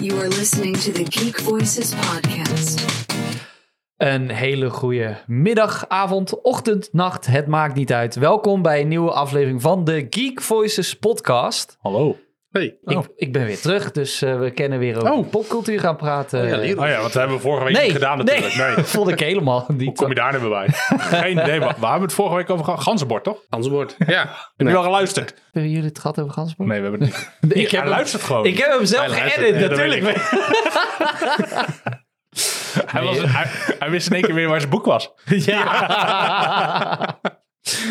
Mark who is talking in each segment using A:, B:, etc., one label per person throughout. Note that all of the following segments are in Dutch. A: You are listening to the Geek Voices podcast.
B: Een hele goede middag, avond, ochtend, nacht. Het maakt niet uit. Welkom bij een nieuwe aflevering van de Geek Voices podcast.
C: Hallo.
D: Hey.
C: Oh.
B: Ik, ik ben weer terug, dus eh, we kennen weer over
D: Oh.
B: popcultuur gaan praten.
D: ja, leer.
C: Oh ja, want dat hebben we vorige week
B: Nee,
C: niet gedaan natuurlijk. Nee.
B: nee, vond ik helemaal
C: Hoe
B: niet.
C: kom je daar nou weer bij? Geen idee. Waar, waar hebben we het vorige week over gehad? Ganzenbord, toch?
D: Ganzenbord. Ja.
C: Heb je wel geluisterd?
B: Hebben jullie het gehad over Gansboom?
C: Nee, we hebben het niet.
B: ik heb
C: Hij
B: hem,
C: luistert gewoon.
B: ik heb hem zelf
D: Hij luistert,
B: geëdit,
C: ja, dat
B: natuurlijk.
C: weet hij, was, hij, hij wist in één keer weer waar zijn boek was.
B: Ja.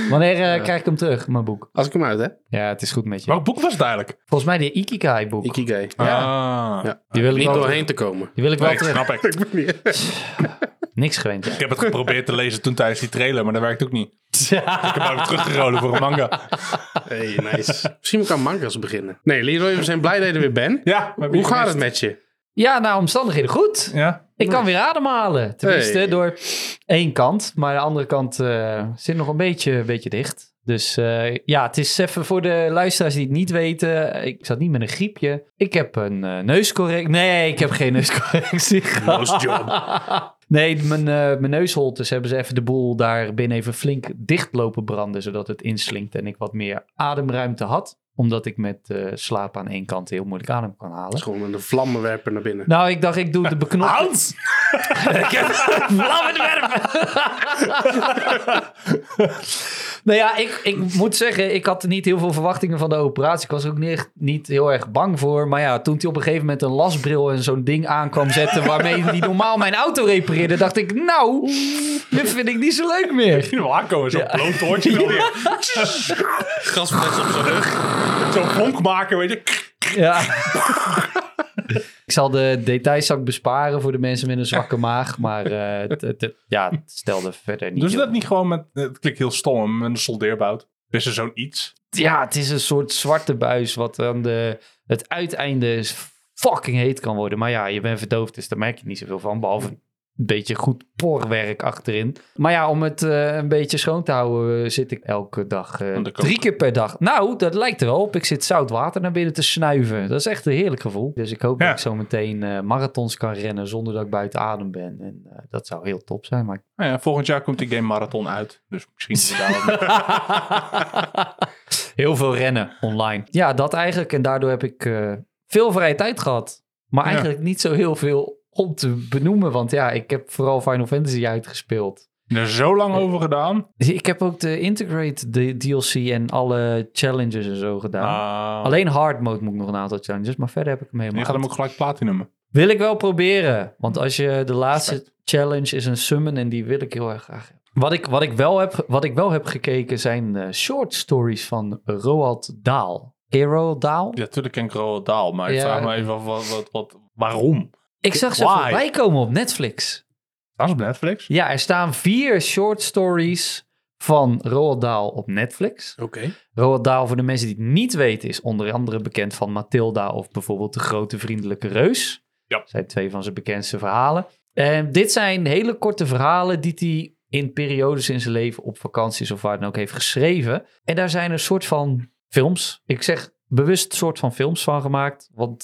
B: Wanneer eh, krijg ik hem terug, mijn boek?
D: Als ik hem uit, hè?
B: Ja, het is goed met je.
C: Welk boek was het eigenlijk?
B: Volgens mij de Ikigai-boek.
D: Ikigai.
C: Ah.
D: Ja.
B: Die wil ik
D: Niet
B: wel,
D: doorheen te komen.
B: die wil ik wel
C: Nee,
B: terug.
C: snap ik. Ik
B: Niks gewend, ja.
C: heb het geprobeerd te lezen toen tijdens die trailer, maar dat werkt ook niet. Ik heb hem even teruggerolen voor een manga.
D: Hey, nice. Misschien kan mangas beginnen. Nee, Leroy, we zijn blij dat je er weer bent.
C: Ja,
D: Hoe gaat het met je?
B: Ja, nou, omstandigheden goed.
C: Ja.
B: Ik kan weer ademhalen. Tenminste,
D: Hey.
B: door één kant. Maar de andere kant eh, zit nog een beetje, een beetje dicht. Dus eh, ja, het is even voor de luisteraars die het niet weten. Ik zat niet met een griepje. Ik heb een eh neuscorrectie. Nee, ik heb geen neuscorrectie gehad.
D: Lost job.
B: Nee, mijn, eh mijn neusholtes hebben ze even de boel daar binnen even flink dicht lopen branden. Zodat het inslinkt en ik wat meer ademruimte had. Omdat ik met eh slaap aan één kant heel moeilijk adem kan halen.
D: Gewoon een vlammenwerper naar binnen.
B: Nou, ik dacht, ik doe de beknopte...
C: Hans!
B: Vlammen werpen! nou ja, ik, ik moet zeggen, ik had niet heel veel verwachtingen van de operatie. Ik was er ook niet, niet heel erg bang voor. Maar ja, toen hij op een gegeven moment een lasbril en zo'n ding aan kwam zetten... waarmee hij normaal mijn auto repareerde, dacht ik... Nou, dit vind ik niet zo leuk meer.
C: Je wil aankomen, zo'n bloot hoortje. wil weer.
D: Gasfles op zijn rug.
C: Zo'n vonk maken, weet je.
B: Ja. Ik zal de details zal ik besparen voor de mensen met een zwakke maag. Maar eh, het- het- ja, het stelde verder niet
C: Doen ze
B: heel-
C: dat niet gewoon met, het klinkt heel stom, met een soldeerbout? Is er zo'n iets?
B: ja, het is een soort zwarte buis wat aan de, het uiteinde is fucking heet kan worden. Maar ja, je bent verdoofd, dus daar merk je niet zoveel van. Behalve een beetje goed porwerk achterin. Maar ja, om het eh, een beetje schoon te houden, eh, zit ik elke dag eh,
C: Aan de kook.
B: drie keer per dag. Nou, dat lijkt er wel op. Ik zit zout water naar binnen te snuiven. Dat is echt een heerlijk gevoel. Dus ik hoop
C: Ja.
B: dat ik zo meteen eh, marathons kan rennen zonder dat ik buiten adem ben. En eh, dat zou heel top zijn. Maar
C: Nou ja, volgend jaar komt die game Marathon uit. Dus misschien is het daar wel mee.
B: Heel veel rennen online. Ja, dat eigenlijk. En daardoor heb ik eh, veel vrije tijd gehad. Maar
C: Ja.
B: eigenlijk niet zo heel veel om te benoemen. Want ja, ik heb vooral Final Fantasy uitgespeeld.
C: Ik heb er zo lang over gedaan.
B: Dus Ik heb ook de Integrate de DLC en alle challenges en zo gedaan.
C: Ah.
B: Alleen hard mode moet ik nog een aantal challenges. Maar verder heb ik hem helemaal
C: je gaat hem ook gelijk platinummen.
B: Wil ik wel proberen. Want als je de laatste challenge is een summon en die wil ik heel erg graag. hebben. Wat ik, wat ik, wel, heb, wat ik wel heb gekeken zijn eh, short stories van Roald Daal. Ken je Roald Daal?
C: Ja, natuurlijk ken ik Roald Dahl, maar ik
B: Ja.
C: vraag me even af wat, wat, wat, waarom?
B: Ik zag ze
C: Why?
B: voorbij komen op Netflix.
C: Dat is op Netflix.
B: Ja, er staan vier short stories van Roald Dahl op Netflix.
D: Oké.
B: Roald Dahl, voor de mensen die het niet weten, is onder andere bekend van Matilda of bijvoorbeeld De Grote Vriendelijke Reus.
C: Ja.
B: Zijn twee van zijn bekendste verhalen. En dit zijn hele korte verhalen die hij in periodes in zijn leven op vakanties of waar dan ook heeft geschreven. En daar zijn een soort van films, ik zeg bewust soort van films van gemaakt, want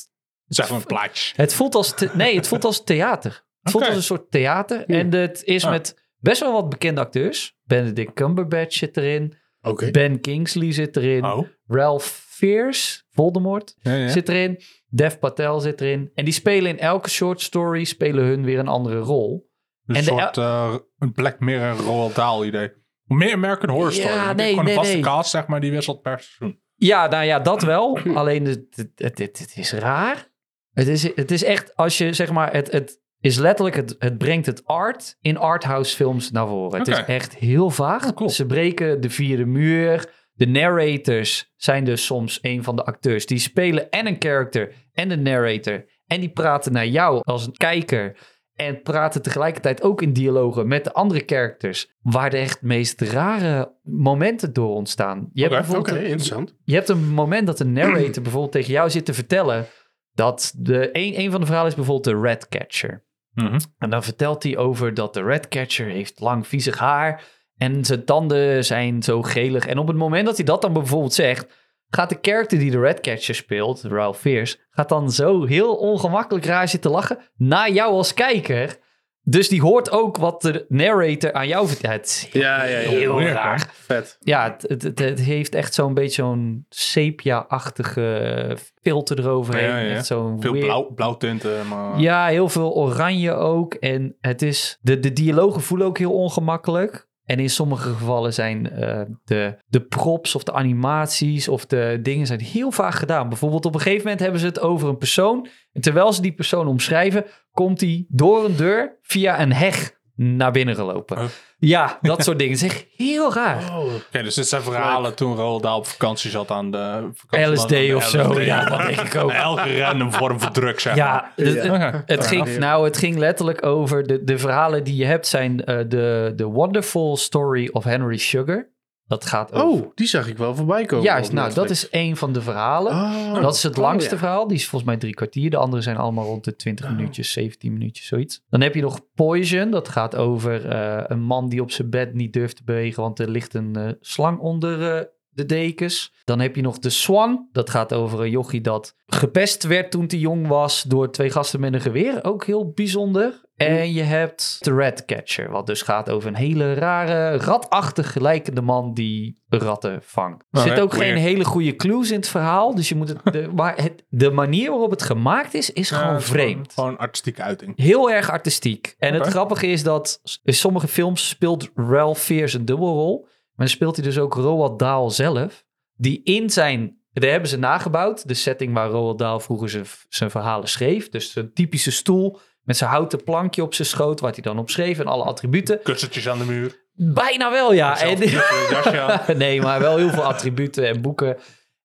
C: Het is gewoon een plaatje.
B: het voelt als, the- nee, het voelt als theater. Het voelt
C: Oké.
B: als een soort theater.
D: Ja.
B: En het is
C: Ah.
B: met best wel wat bekende acteurs. Benedict Cumberbatch zit erin.
D: Oké.
B: Ben Kingsley zit erin. Ralph Fiennes, Voldemort,
C: Oh. Ja, ja.
B: zit erin. Dev Patel zit erin. En die spelen in elke short story spelen hun weer een andere rol.
C: Een
B: en de-
C: soort eh, een Black Mirror Roald Dahl idee. Meer American
B: Ja,
C: Horror Story. Dan heb je
B: nee,
C: gewoon
B: nee,
C: een vaste
B: nee.
C: cast, zeg maar, die wisselt per seizoen.
B: Ja, nou ja, dat wel. Alleen het, het, het, het- het is raar. Het is, het is echt, als je zeg maar, het, het is letterlijk, het, het brengt het art in arthouse films naar voren. Het
C: Oké.
B: is echt heel vaag.
C: Oh, cool.
B: Ze breken de vierde muur. De narrators zijn dus soms een van de acteurs. Die spelen en een character en de narrator. En die praten naar jou als een kijker. En praten tegelijkertijd ook in dialogen met de andere characters. Waar de echt meest rare momenten door ontstaan. Je hebt
C: Oké,
B: bijvoorbeeld
D: Oké, interessant.
B: je hebt een moment dat een narrator bijvoorbeeld tegen jou zit te vertellen dat de, een, een van de verhalen is bijvoorbeeld de Redcatcher.
C: Mhm.
B: En dan vertelt hij over dat de Redcatcher heeft lang viezig haar en zijn tanden zijn zo gelig. En op het moment dat hij dat dan bijvoorbeeld zegt, Gaat de character die de Redcatcher speelt, Ralph Fiers, gaat dan zo heel ongemakkelijk raar zitten lachen naar jou als kijker. Dus die hoort ook wat de narrator aan jou vertelt. Het is
D: Ja, ja, ja.
B: Heel
C: Weird, hè?
B: raar.
D: Vet.
B: Ja, het, het, het- het heeft echt zo'n beetje zo'n sepia-achtige filter eroverheen.
C: Ja, ja.
B: Echt zo'n
C: Veel
B: weird-
C: blauw, blauw tinten, maar...
B: Ja, heel veel oranje ook. En het is, de, de dialogen voelen ook heel ongemakkelijk. En in sommige gevallen zijn eh, de, de props of de animaties of de dingen zijn heel vaak gedaan. Bijvoorbeeld op een gegeven moment hebben ze het over een persoon. En terwijl ze die persoon omschrijven, komt die door een deur via een heg naar binnen gelopen.
C: Huh?
B: Ja, dat soort dingen. Het is echt heel raar.
D: Oh,
C: Oké, dus dit zijn verhalen toen Roald Dahl op vakantie zat aan de... vakantie
B: LSD
C: aan de
B: of zo.
C: LSD.
B: Ja, dat denk ik ook.
C: Elke random vorm van druk, zeg maar.
B: Ja, het-
D: Ja.
B: het- het, ging, nou, het ging letterlijk over de, de verhalen die je hebt zijn eh, de, de Wonderful Story of Henry Sugar. Dat gaat over...
D: oh, die zag ik wel voorbij komen.
B: Juist,
D: op
B: nou, dat
D: Netflix.
B: is één van de verhalen.
D: Oh.
B: Dat is het langste
D: Oh, ja. Oh.
B: verhaal. Die is volgens mij drie kwartier. De andere zijn allemaal rond de 20 minuutjes, 17 minuutjes, zoiets. Dan heb je nog Poison. Dat gaat over eh, een man die op zijn bed niet durft te bewegen, want er ligt een eh, slang onder eh, de dekens. Dan heb je nog de Swan. Dat gaat over een jochie dat gepest werd toen hij jong was door twee gasten met een geweer. Ook heel bijzonder.
D: Mhm.
B: En je hebt de Ratcatcher, wat dus gaat over een hele rare, ratachtig lijkende man die ratten vangt. Er
C: Oh,
B: zit
C: hè?
B: ook geen
C: Weird.
B: hele goede clues in het verhaal. Dus je moet het. De, maar het, de manier waarop het gemaakt is, is
C: Ja,
B: gewoon
C: het is gewoon-
B: vreemd.
C: Gewoon artistieke uiting.
B: Heel erg artistiek. En
C: Oké.
B: het grappige is dat s- in sommige films speelt Ralph Fiers een dubbelrol. Maar dan speelt hij dus ook Roald Dahl zelf. Die in zijn... Daar hebben ze nagebouwd. De setting waar Roald Dahl vroeger zijn, zijn verhalen schreef. Dus een typische stoel met zijn houten plankje op zijn schoot. Waar hij dan op schreef en alle attributen.
C: Kussentjes aan de muur.
B: Bijna wel, ja.
C: zelf
B: En-
C: geknipt, jasje aan.
B: nee, maar wel heel veel attributen en boeken.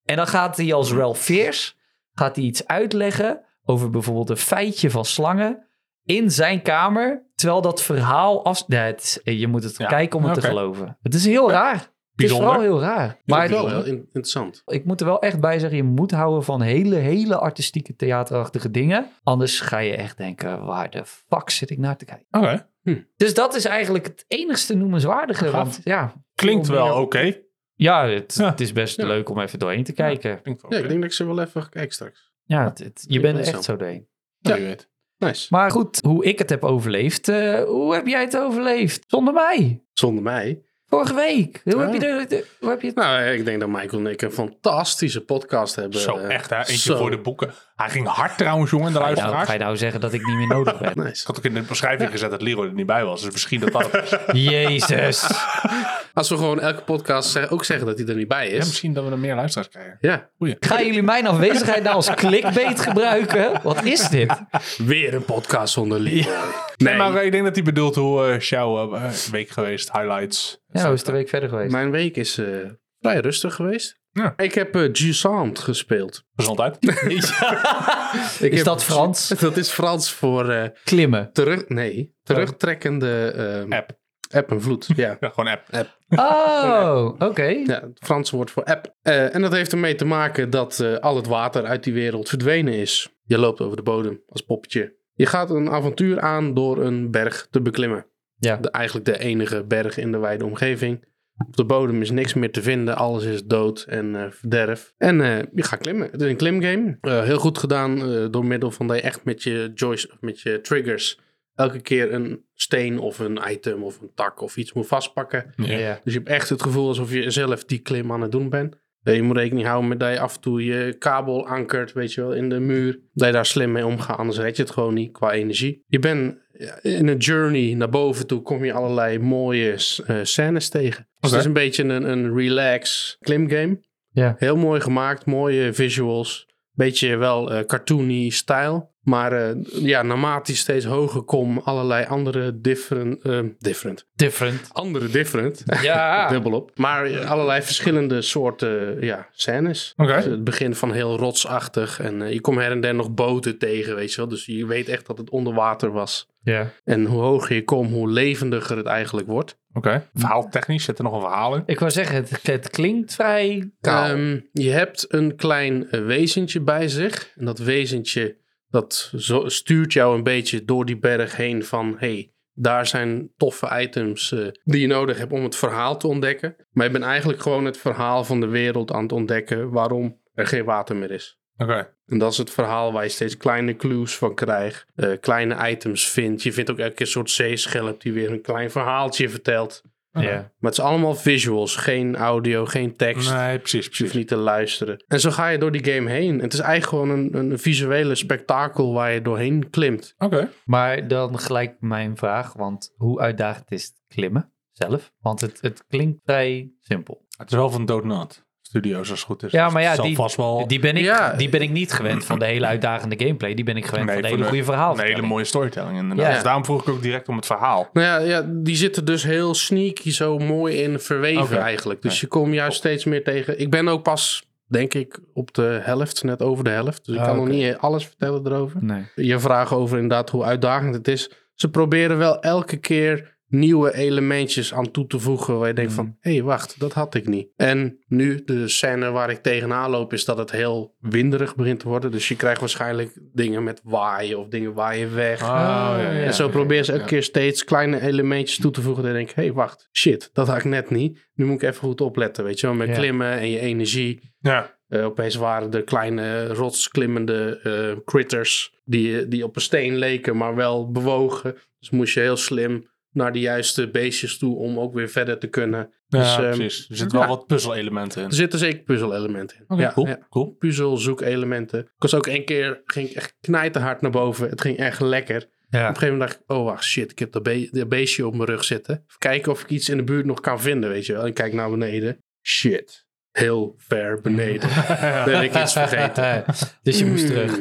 B: En dan gaat hij als Ralph Fiers gaat hij iets uitleggen over bijvoorbeeld een feitje van slangen in zijn kamer, terwijl dat verhaal af... Nee, het is- eh, je moet het
C: Ja,
B: kijken om het
C: oké.
B: te geloven. Het is heel raar. Het is
C: Bijzonder.
B: vooral heel raar. Maar
D: Maar wel heel
B: het-
D: in- interessant.
B: ik moet er wel echt bij zeggen, je moet houden van hele, hele artistieke theaterachtige dingen. Anders ga je echt denken, waar de fuck zit ik naar te kijken?
C: Oké.
B: Dus dat is eigenlijk het enigste noemenswaardige.
C: Gaaf.
B: Want ja,
C: Klinkt wel oké.
B: ja, het,
C: Ja.
B: het is best
D: Ja.
B: leuk om even doorheen te kijken.
C: Klinkt wel
D: Ja, ik
C: oké.
D: denk dat ik ze wel even ga kijken straks.
B: Ja, het- het- je bent
D: ben
B: er
D: zo.
B: echt zo doorheen.
C: Nou, wie weet.
D: Nice.
B: Maar goed, hoe ik het heb overleefd, eh, hoe heb jij het overleefd? Zonder mij.
D: Zonder mij.
B: Vorige week. Hoe heb
D: Ah.
B: je, de, de- hoe heb je het...
D: Nou, ik denk dat Michael en ik een fantastische podcast hebben.
C: Zo,
D: Eh,
C: echt hè. Eentje
D: zo.
C: voor de boeken. Hij ging hard trouwens, jongen, de
B: Nou,
C: luisteraars.
B: ga je nou zeggen dat ik niet meer nodig ben?
C: Ik
D: Nice.
C: had ook in de beschrijving gezet dat Leroy er niet bij was. Dus misschien dat dat... ja,
B: Jezus.
D: Als we gewoon elke podcast zeg- ook zeggen dat hij er niet bij is.
C: misschien dat we er meer luisteraars krijgen.
D: Ja,
B: Gaan jullie mijn afwezigheid nou als clickbait gebruiken? Wat is dit?
D: weer een podcast zonder liefde.
C: Nee,
D: Nee,
C: maar eh, ik denk dat hij bedoelt hoe eh show eh, week geweest, highlights.
B: Ja, hoe is de week verder geweest?
D: mijn week is eh, vrij rustig geweest.
C: Ja.
D: Ik heb eh Jusant gespeeld.
C: Gezondheid.
D: Ik
B: Is
D: heb-
B: dat Frans?
D: Dat is Frans voor eh,
B: Klimmen.
D: terug, nee, terugtrekkende eh,
C: App.
D: app en vloed. Ja.
C: Ja, gewoon app.
B: Oh, oké.
D: Ja, het Franse woord voor app. Eh, en dat heeft ermee te maken dat eh, al het water uit die wereld verdwenen is. Je loopt over de bodem als poppetje. Je gaat een avontuur aan door een berg te beklimmen.
B: Ja.
D: De, eigenlijk de enige berg in de wijde omgeving. Op de bodem is niks meer te vinden. Alles is dood en eh verderf. En eh, je gaat klimmen. Het is een klimgame. Eh, heel goed gedaan eh, door middel van dat je echt met je joys, of met je triggers... elke keer een steen of een item of een tak of iets moet vastpakken...
C: Ja.
B: Ja.
D: Dus je hebt echt het gevoel alsof je zelf die klim aan het doen bent. Eh, Je moet rekening houden met dat je af en toe je kabel ankert, weet je wel, in de muur. Dat je daar slim mee omgaat, anders red je het gewoon niet qua energie. Je bent ja, in een journey naar boven toe, kom je allerlei mooie s- eh, scènes tegen. Dus
C: Oké.
D: het is een beetje een, een relax klimgame.
B: Ja.
D: Heel mooi gemaakt, mooie visuals. Beetje wel eh, cartoony stijl. Maar eh, ja, naarmate je steeds hoger kom, allerlei andere different... eh, different.
B: Different.
D: Andere different.
B: Ja.
D: Dubbel op. Maar eh, allerlei verschillende soorten eh, ja, scènes.
C: Oké.
D: Dus het begin van heel rotsachtig. En eh, je komt her en der nog boten tegen, weet je wel. Dus je weet echt dat het onder water was.
B: ja.
D: En hoe hoger je komt, hoe levendiger het eigenlijk wordt.
C: Oké. Verhaaltechnisch zit er nog een verhaal in.
B: Ik wou zeggen, het, het klinkt vrij kaal.
D: Ehm, je hebt een klein eh, wezentje bij zich. En dat wezentje dat zo- stuurt jou een beetje door die berg heen van... hey, Daar zijn toffe items eh, die je nodig hebt om het verhaal te ontdekken. Maar je bent eigenlijk gewoon het verhaal van de wereld aan het ontdekken waarom er geen water meer is.
C: Oké.
D: En dat is het verhaal waar je steeds kleine clues van krijgt, eh, kleine items vindt. Je vindt ook elke keer een soort zeeschelp die weer een klein verhaaltje vertelt.
B: Ja.
D: Maar het is allemaal visuals, geen audio, geen tekst.
C: Nee, precies,
D: Je hoeft
C: precies.
D: niet te luisteren. En zo ga je door die game heen. Het is eigenlijk gewoon een, een visuele spektakel waar je doorheen klimt.
C: Oké.
B: Maar dan gelijk mijn vraag, want hoe uitdagend is het klimmen zelf? Want het, het klinkt vrij simpel.
C: Het is wel van Doodnat Studios, als het goed is.
B: Ja,
C: Dus
B: maar ja,
C: het zal
B: die-
C: vast wel
B: Die ben ik,
D: Oh, Ja.
B: die ben ik niet gewend van de hele uitdagende gameplay. Die ben ik gewend
C: Nee,
B: van de
C: voor
B: hele
C: de-
B: goede verhaal.
C: een hele mooie storytelling inderdaad.
B: Ja.
C: Dus daarom vroeg ik ook direct om het verhaal.
D: Nou ja, ja die zitten dus heel sneaky zo mooi in verweven
C: Oké.
D: eigenlijk. Dus
C: Ja.
D: je komt juist steeds meer tegen. Ik ben ook pas, denk ik, op de helft, net over de helft. Dus ik
B: Ah,
D: kan nog
B: oké.
D: niet alles vertellen erover.
B: Nee.
D: je vraag over inderdaad hoe uitdagend het is. Ze proberen wel elke keer nieuwe elementjes aan toe te voegen waar je denkt van, hé, hey, wacht, dat had ik niet. En nu de scène waar ik tegenaan loop is dat het heel winderig begint te worden. Dus je krijgt waarschijnlijk dingen met waaien of dingen waaien weg.
C: Oh,
B: ja, ja.
D: en zo
C: oké.
D: proberen ze elke
C: Ah, Ja.
D: keer steeds kleine elementjes toe te voegen. Dan denk ik, hé, hey, wacht, shit, dat had ik net niet. Nu moet ik even goed opletten, weet je wel, met
B: Ja.
D: klimmen en je energie.
C: Ja.
D: Eh, opeens waren er kleine eh, rotsklimmende eh, critters die, eh, die op een steen leken, maar wel bewogen. Dus moest je heel slim naar de juiste beestjes toe om ook weer verder te kunnen.
C: Ja,
D: Dus, ehm,
C: precies. Er zitten wel
D: ja.
C: wat puzzelelementen in.
D: Er zitten zeker puzzelelementen in.
C: Oké,
D: ja,
C: cool,
D: ja.
C: cool.
D: Puzzel, zoekelementen. Ik was ook één keer, ging ik echt knijterhard naar boven. Het ging echt lekker.
B: Ja.
D: Op een gegeven moment dacht ik, oh wacht, shit, ik heb dat, be- dat beestje op mijn rug zitten. Even kijken of ik iets in de buurt nog kan vinden, weet je wel. En ik kijk naar beneden. Shit, heel ver beneden. ben ik iets vergeten.
B: dus je moest terug.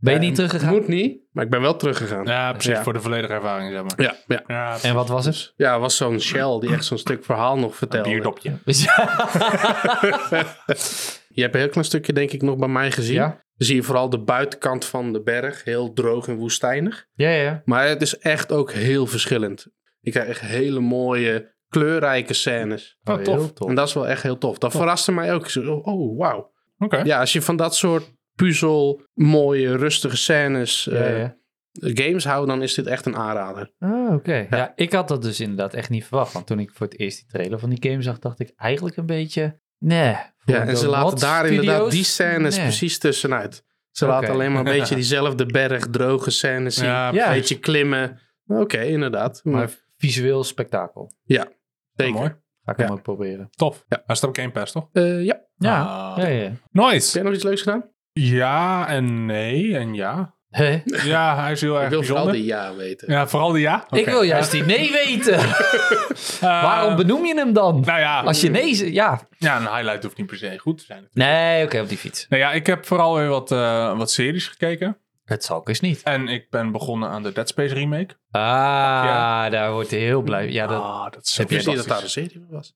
B: Ben je
D: Ja,
B: niet teruggegaan?
D: Moet niet, maar ik ben wel teruggegaan. Ja,
C: Ja, precies.
D: Ja.
C: Voor de volledige ervaring, zeg maar.
D: ja. ja.
C: Ja, precies.
B: En wat was het?
D: het was zo'n Shell die echt zo'n stuk verhaal nog vertelde.
C: bierdopje.
D: Je hebt een heel klein stukje, denk ik, nog bij mij gezien.
B: Ja.
D: Dan zie je vooral de buitenkant van de berg, heel droog en woestijnig.
B: Ja, ja.
D: Maar het is echt ook heel verschillend. Je krijgt echt hele mooie, kleurrijke scènes.
C: Oh, tof.
B: Heel tof.
D: En dat is wel echt heel tof. Dat verraste mij ook. Ik zei, oh, oh, wauw.
C: Oké. nou,
D: Ja, als je van dat soort puzzel, mooie, rustige scènes,
B: Ja,
D: eh,
B: ja.
D: games houdt, dan is dit echt een aanrader.
B: Ah, oké. Ja. ik had dat dus inderdaad echt niet verwacht. Want toen ik voor het eerst die trailer van die game zag, dacht ik eigenlijk een beetje... Nee. voor
D: Ja, en
B: de
D: ze laten
B: Mod
D: daar
B: Studios?
D: inderdaad die scènes
B: Nee.
D: precies tussenuit. Ze
B: Oké.
D: laten alleen maar een beetje diezelfde berg, droge scènes zien.
C: Ja, nou,
B: Ja.
D: Een beetje klimmen. Nou, Oké, inderdaad.
C: Mm.
D: Maar,
B: Maar visueel spektakel.
D: zeker.
C: mooi.
B: Ga ik
D: Ja.
B: hem ook proberen.
C: Tof.
D: Ja.
C: Ja. Hij staat op Game Pass, toch?
D: Eh, ja.
B: Ja.
C: Ah.
B: Ja, ja.
D: Heb
C: Nice.
D: jij nog iets leuks gedaan?
C: Ja en nee en ja.
B: Hè?
C: Ja, hij is heel
D: Ik
C: erg
D: wil vooral
C: bijzonder.
D: de ja weten.
C: Ja, vooral de ja. Eh,
B: Ik wil juist die nee weten. Waarom benoem je hem dan?
C: Nou ja,
B: Als je nee zegt, ja.
C: ja, een highlight hoeft niet per se goed te zijn.
B: Nee, oké, op die fiets.
C: Nou ja, ik heb vooral weer wat, eh, wat series gekeken.
B: Het zal eens niet.
C: En ik ben begonnen aan de Dead Space remake.
B: Ah, daar wordt hij heel blij. Ja, dat...
C: Ah, dat is
B: Heb
D: Ik wist niet dat
C: fantastisch.
D: daar een serie van was.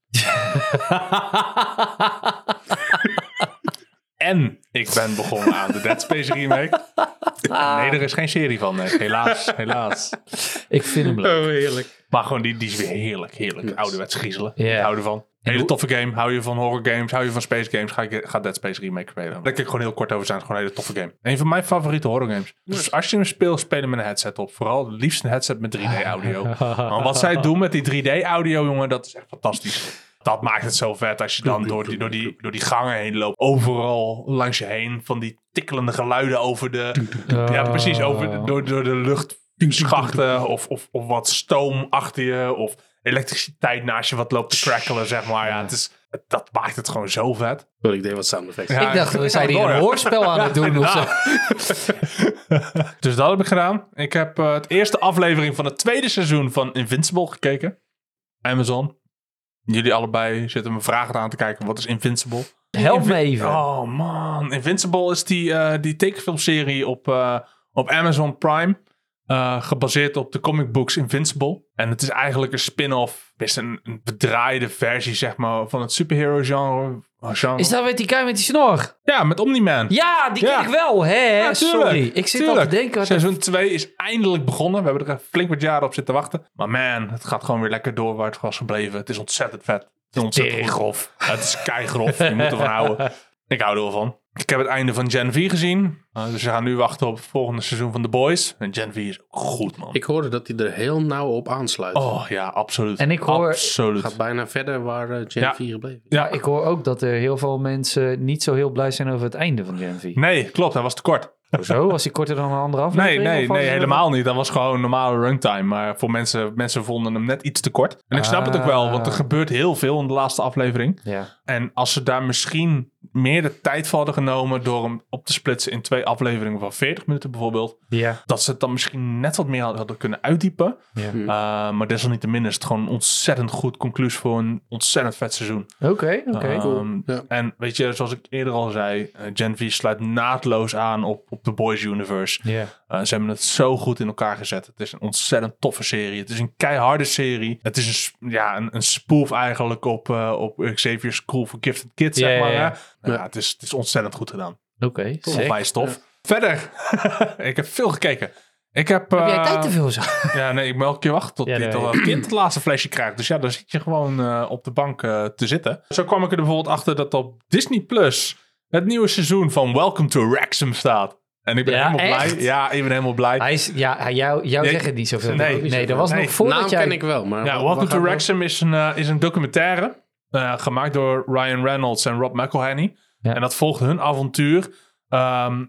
C: En ik ben begonnen aan de Dead Space remake. Nee, er is geen serie van. nee. Helaas, helaas.
B: ik vind hem leuk.
D: Oh, heerlijk.
C: Maar gewoon, die, die is weer heerlijk, heerlijk.
D: Yes.
C: Ouderwets griezelen.
B: Ja.
C: Ik hou ervan. Hele
B: hoe-
C: toffe game. Hou je van horror games, hou je van space games, ga, ik, ga Dead Space Remake spelen. Daar kan ik gewoon heel kort over zijn. Het is gewoon een hele toffe game. Een van mijn favoriete horror games. Dus als je hem speelt, speel hem met een headset op. Vooral het liefst een headset met 3D audio. Want wat zij doen met die 3D audio, jongen, dat is echt fantastisch. Dat maakt het zo vet als je dan door die, door die, door die gangen heen loopt. Overal langs je heen van die tikkelende geluiden over de...
B: Oh.
C: Ja, precies. Over de- door, door de luchtschachten of, of, of wat stoom achter je. Of elektriciteit naast je wat loopt te crackelen, zeg maar. Ja, het is, het- dat maakt het gewoon zo vet.
D: Sorry, ik deed wat sound effects.
C: Ja,
B: Ik dacht, we zijn hier
C: door,
B: een
C: ja.
B: hoorspel aan het doen. of zo.
C: Inderdaad. dus dat heb ik gedaan. Ik heb eh, het eerste aflevering van het tweede seizoen van Invincible gekeken. Amazon. Jullie allebei zitten me vragen aan te kijken. Wat is Invincible?
B: Help me even.
C: Oh man, Invincible is die, eh, die tekenfilmserie op, eh, op Amazon Prime. eh, gebaseerd op de comic books Invincible. En het is eigenlijk een spin-off. Het is een, een bedraaide versie, zeg maar, van het superhero genre. genre.
B: Is dat met die guy met die snor?
C: Ja, met Omni-Man.
B: Ja, die
C: Ja.
B: ken ik wel. Hè?
C: Ja, tuurlijk.
B: Eh, Sorry. Ik zit al
C: Tuurlijk.
B: te denken. Wat
C: Seizoen 2 is eindelijk begonnen. We hebben er flink wat jaren op zitten wachten. Maar man, het gaat gewoon weer lekker door waar het was gebleven. Het is ontzettend vet. Het is ontzettend goed.
B: grof.
C: Ja, Het is keigrof. Je moet ervan houden. Ik hou er wel van. Ik heb het einde van Gen V gezien. Eh, dus we gaan nu wachten op het volgende seizoen van The Boys. En Gen V is ook goed, man.
D: Ik hoorde dat hij er heel nauw op aansluit.
C: Oh ja, absoluut.
B: En ik hoor-
C: Absoluut.
D: Gaat bijna verder waar eh, Gen
C: Ja.
D: 4 gebleven is.
C: Ja,
B: Ik hoor ook dat er heel veel mensen niet zo heel blij zijn over het einde van Gen V.
C: Nee, klopt. Hij was te kort.
B: Hoezo? Was die korter dan een andere
C: Nee,
B: aflevering?
C: nee,
B: Of was
C: nee,
B: het-
C: helemaal niet. Dat was gewoon normale runtime. Maar voor mensen, mensen vonden hem net iets te kort. En ik snap het ook wel, want er
B: Ah.
C: gebeurt heel veel in de laatste aflevering.
B: Ja.
C: En als ze daar misschien meer de tijd voor hadden genomen door hem op te splitsen in twee afleveringen van 40 minuten bijvoorbeeld,
B: Ja.
C: dat ze het dan misschien net wat meer hadden kunnen uitdiepen.
B: ja.
D: Hm.
C: Uh, maar desalniettemin is het gewoon een ontzettend goed conclusie voor een ontzettend vet seizoen.
B: Oké, oké.
C: Ehm,
D: Ja.
C: En weet je, zoals ik eerder al zei, eh, Gen V sluit naadloos aan op, op de Boys Universe.
B: Ja.
C: Uh, ze hebben het zo goed in elkaar gezet. Het is een ontzettend toffe serie. Het is een keiharde serie. Het is een, s- ja, een, een spoof eigenlijk op, eh, op Xavier's School for Gifted Kids,
B: Ja,
C: zeg maar.
B: ja, ja.
C: hè? Nou Ja, het, is, het is ontzettend goed gedaan.
B: Oké, sick.
C: Onwijs tof. Verder, ik heb veel gekeken. Ik heb...
B: Heb jij
C: eh,
B: tijd te veel zo?
C: Ja, nee, ik moet elke keer wachten tot
B: Ja,
C: die
B: nee.
C: tot dat kind het laatste flesje krijgt. Dus ja, dan zit je gewoon eh, op de bank eh, te zitten. Zo kwam ik er bijvoorbeeld achter dat op Disney Plus het nieuwe seizoen van Welcome to Wrexham staat. En ik ben
B: Ja,
C: helemaal
B: echt?
C: blij. Ja, ik ben helemaal blij.
B: Hij is, ja, hij- jou, jou
C: Nee,
B: zegt het niet zoveel.
C: nee,
B: Nee,
C: niet
B: nee
D: zoveel.
B: dat was
C: Nee,
B: nog voordat
D: Naam
B: jij...
D: ken ik wel,
C: Ja,
D: maar... wat-
C: Welcome
D: wat
C: to
D: gaat-
C: Wrexham is een, Nou, eh, is een documentaire eh, gemaakt door Ryan Reynolds en Rob McElhenney.
B: Ja.
C: En dat volgt hun avontuur ehm,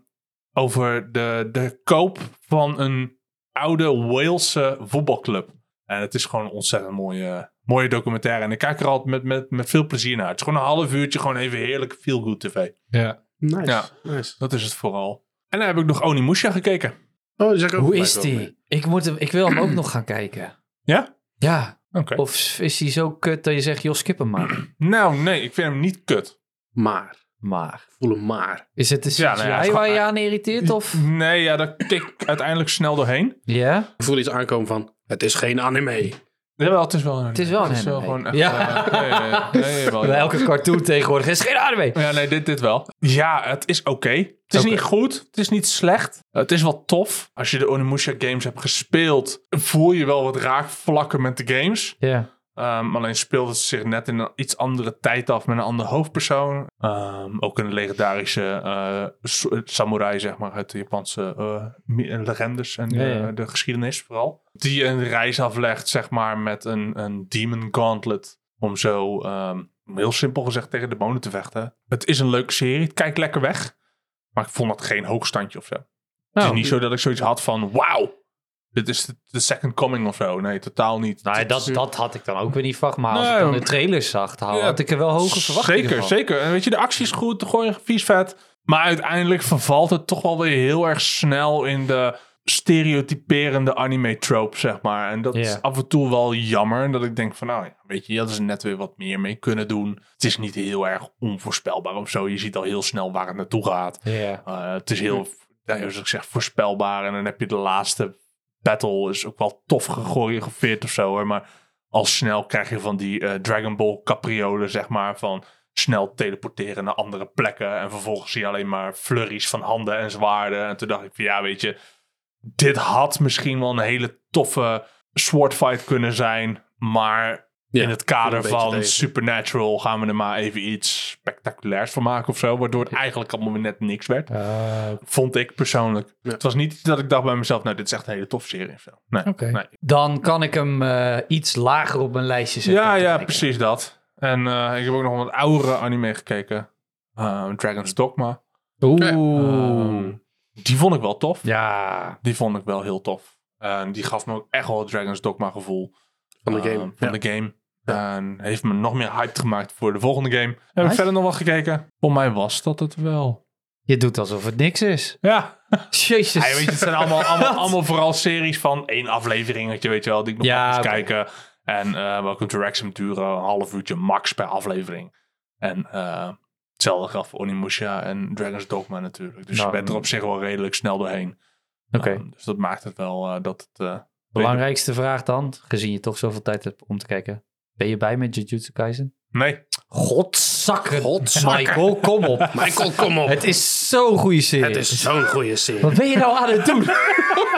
C: over de, de koop van een oude Walese voetbalclub. En het is gewoon een ontzettend mooie, mooie documentaire. En ik kijk er altijd met, met, met veel plezier naar. Het is gewoon een half uurtje, gewoon even heerlijk feel-good tv. Ja.
D: Nice,
C: Ja.
D: nice.
C: Dat is het vooral. En dan heb ik nog Onimusha gekeken.
D: Oh, die zag ik ook
B: Hoe
D: voorbij
B: is
D: komen.
B: die? Ik, moet hem, ik wil hem ook nog gaan kijken.
C: Ja?
B: Ja.
C: Oké.
B: Of is hij zo kut dat je zegt, joh, skip hem maar.
C: Nou, nee, ik vind hem niet kut.
D: Maar.
B: Maar.
D: Voelen maar.
B: Is het de CGI
C: Ja, nou ja, het is
B: waar
C: gewoon-
B: je aan irriteert? Of?
C: Nee, ja, daar kik ik uiteindelijk snel doorheen.
B: Ja?
D: Ik voel iets aankomen van... Het is geen anime.
C: Jawel, het is wel een
B: Het is wel een anime.
C: gewoon echt...
B: Ja.
C: Ja. nee, nee, nee, nee, jawel,
B: Bij
C: jawel.
B: elke cartoon tegenwoordig is geen anime.
C: Ja, nee, dit, dit wel. Ja, het is oké. Het is
B: Oké.
C: niet goed. Het is niet slecht. Het is wel tof. Als je de Onimusha games hebt gespeeld, voel je wel wat raakvlakken met de games.
B: Ja.
C: Ehm, alleen speelt het zich net in een iets andere tijd af met een ander hoofdpersoon. Ehm, ook een legendarische eh, s- samurai, zeg maar, uit de Japanse eh, mi- eh, legendes en
B: Ja, ja.
C: eh, de geschiedenis vooral. Die een reis aflegt, zeg maar, met een, een demon gauntlet. Om zo, ehm, heel simpel gezegd, tegen demonen te vechten. Het is een leuke serie. Kijk lekker weg. Maar ik vond dat geen hoogstandje of zo.
B: Nou.
C: Het is niet zo dat ik zoiets had van, wauw. Dit is de- de second coming of zo. Nee, totaal niet.
B: Nou, ja, dat, dat had ik dan ook weer niet verwacht. Maar als
C: Nee,
B: ik dan
C: maar-
B: de trailers zag, dan
C: Ja,
B: had ik er wel hoge verwachtingen
C: Zeker,
B: van.
C: zeker. En weet je, de actie is goed, de gooien vies vet. Maar uiteindelijk vervalt het toch wel weer heel erg snel in de stereotyperende anime trope, zeg maar. En dat
B: Ja.
C: is af en toe wel jammer. Dat ik denk van, nou ja, weet je, dat is net weer wat meer mee kunnen doen. Het is niet heel erg onvoorspelbaar of zo. Je ziet al heel snel waar het naartoe gaat.
B: Ja.
D: Eh,
C: Uh, het is heel,
D: Mm-hmm.
C: ja, zoals ik zeg, voorspelbaar. En dan heb je de laatste battle, is ook wel tof gechoreografeerd of zo hoor. Maar al snel krijg je van die eh, Dragon Ball capriolen, zeg maar, van snel teleporteren naar andere plekken. En vervolgens zie je alleen maar flurries van handen en zwaarden. En toen dacht ik van, ja, weet je, dit had misschien wel een hele toffe sword fight kunnen zijn. Maar
D: Ja,
C: in het
D: een
C: kader
D: beetje
C: van
D: tegen.
C: Supernatural gaan we er maar even iets spectaculairs van maken of zo. Waardoor het eigenlijk allemaal weer net niks werd.
B: Eh,
C: Vond ik persoonlijk.
D: Ja.
C: Het was niet dat ik dacht bij mezelf, nou dit is echt een hele toffe serie. of zo. Nee.
B: Oké.
C: Nee.
B: Dan kan ik hem eh, iets lager op mijn lijstje zetten.
C: Ja,
B: om te
C: ja,
B: kijken.
C: precies dat. En eh, ik heb ook nog een wat oudere anime gekeken. Eh, Dragon's Dogma.
B: Oeh.
C: Ehm, die vond ik wel tof.
B: ja.
C: Die vond ik wel heel tof. En die gaf me ook echt wel het Dragon's Dogma gevoel.
D: Van de
C: Eh,
D: game.
C: van
D: Ja.
C: de game.
D: Ja.
C: En heeft me nog meer hyped gemaakt voor de volgende game. Heb ik
B: Nice.
C: verder nog wat gekeken? Voor mij was dat het wel.
B: Je doet alsof het niks is.
C: Ja,
B: Jezus.
C: Ja, je weet, het zijn allemaal, allemaal, allemaal vooral series van één afleveringetje, weet je wel, die ik nog
B: Ja,
C: eens
B: oké.
C: kijken. En eh Welcome to Wrexham duren een half uurtje max per aflevering. En eh, hetzelfde geldt voor Onimusha en Dragon's Dogma natuurlijk. Dus
B: Nou,
C: je bent er op zich wel redelijk snel doorheen.
B: Oké.
C: Um, dus dat maakt het wel eh, dat het... eh,
B: Belangrijkste vraag dan, gezien je toch zoveel tijd hebt om te kijken. Ben je bij met Jujutsu Kaisen?
C: nee,
B: Godzakken. Michael, kom op.
D: Michael, kom op.
B: Het is zo'n goede serie.
D: Het is zo'n goede serie.
B: Wat ben je nou aan het doen?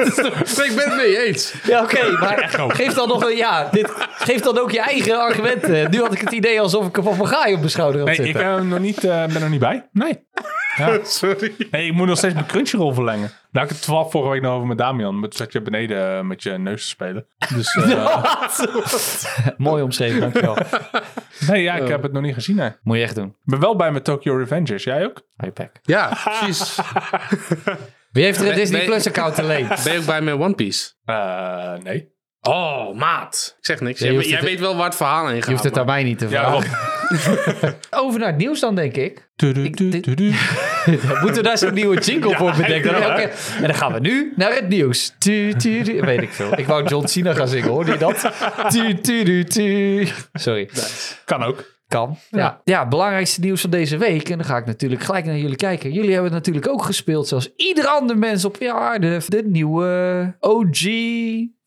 D: ik ben het mee eens.
B: Ja, oké, maar geef dan nog een ja. Dit, geef dan ook je eigen argumenten. Nu had ik het idee alsof ik een papegaai op mijn schouder had
C: nee ik
B: zitten.
C: eh, ben er nog niet, eh, ben er niet bij. Nee.
D: Sorry.
C: Nee, ik moet nog steeds mijn Crunchyroll verlengen. Daar had Nou, ik het twaalf vorige week nog over met Damian. Maar toen zat je beneden eh, met je neus te spelen. Dus, eh,
B: Mooi omschreven, dankjewel.
C: nee, ja, ik heb het nog niet gezien. Hè. Ik
B: Moet je echt doen.
C: ben wel bij mijn Tokyo Revengers. Jij ook?
B: Ipack.
D: Ja, precies.
B: Wie heeft er een
D: Nee,
B: Disney
D: nee.
B: Plus account te leen?
D: Ben je ook bij met One Piece?
C: Eh, nee.
D: Oh, maat. Ik zeg niks.
B: Ja, je
D: jij
B: hoeft
D: jij
B: het-
D: weet wel waar het verhaal in gaat.
B: Je hoeft het aan mij niet te
C: Ja,
B: vragen.
C: Rob.
B: Over naar het nieuws dan, denk ik.
C: Tudu, tudu, tudu.
B: Moeten we daar zo'n nieuwe jingle voor bedenken? Elke- En dan gaan we nu naar het nieuws. Tu, tu, tu. Weet ik veel. Ik wou John Cena gaan zingen, hoorde je dat? Tu, tu, tu, tu. Sorry.
C: Kan ook.
B: Kan. Ja. ja, belangrijkste nieuws van deze week. En dan ga ik natuurlijk gelijk naar jullie kijken. Jullie hebben het natuurlijk ook gespeeld, zoals ieder ander mens op de aarde. De nieuwe OG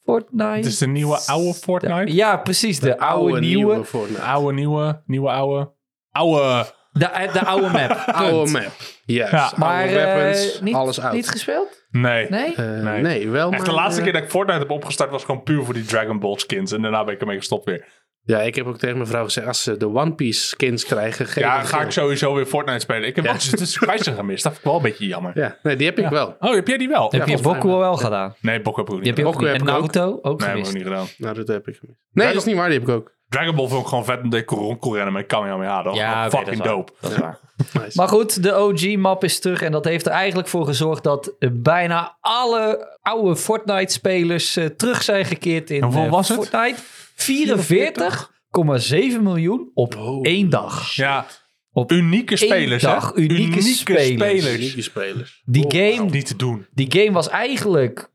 B: Fortnite.
C: Het is de nieuwe oude Fortnite.
B: Ja, precies. De, oude, nieuwe.
D: Fortnite.
C: Oude, nieuwe, nieuwe oude. Oude.
B: De, de oude map.
D: Oude
B: Punt.
D: map. Yes.
C: Ja.
D: Oude
B: Maar eh,
D: weapons.
B: niet,
D: alles oud.
B: niet gespeeld?
C: Nee.
B: Nee?
D: Eh,
C: nee.
D: nee. wel.
C: Echt, de
D: maar,
C: laatste
D: eh,
C: keer dat ik Fortnite heb opgestart was gewoon puur voor die Dragon Ball skins. En daarna ben ik ermee gestopt weer.
D: Ja, ik heb ook tegen mijn vrouw gezegd, als ze de One Piece skins krijgen, geef
C: Ja,
D: het
C: ga
D: geel.
C: ik sowieso weer Fortnite spelen. Ik heb wel eens dus Kaiser gemist. Dat vind ik wel een beetje jammer.
D: Ja, nee, die heb ik wel.
C: Oh, heb jij die wel?
B: heb je
D: volgens mij
B: Boku
D: wel.
B: al wel gedaan?
C: Nee, Bok heb ik ook
B: Je
C: niet
B: hebt je ook
D: Boku
B: niet.
D: heb
B: En
D: ik ook.
B: Naruto ook
C: Nee,
B: gemist.
C: hebben we ook niet gedaan.
D: Nou, dat heb ik gemist. Nee, dat is niet waar, die heb ik ook.
C: Dragon Ball vond ik gewoon vet omdat ik kon rond kon rennen met Kamehameha. Dat was
B: Ja,
C: gewoon
B: oké,
C: fucking
B: dat is waar.
C: dope.
B: Dat is waar.
D: Nice.
B: Maar goed, de OG-map is terug. En dat heeft er eigenlijk voor gezorgd dat eh, bijna alle oude Fortnite-spelers eh, terug zijn gekeerd in
C: En hoeveel
B: eh,
C: was het?
B: Fortnite. 44,7 miljoen op één dag.
C: Ja,
B: Op
C: unieke spelers. hè?
B: dag unieke spelers.
D: Unieke spelers.
B: Die
D: Oh,
B: game
C: Niet te doen.
B: die game was eigenlijk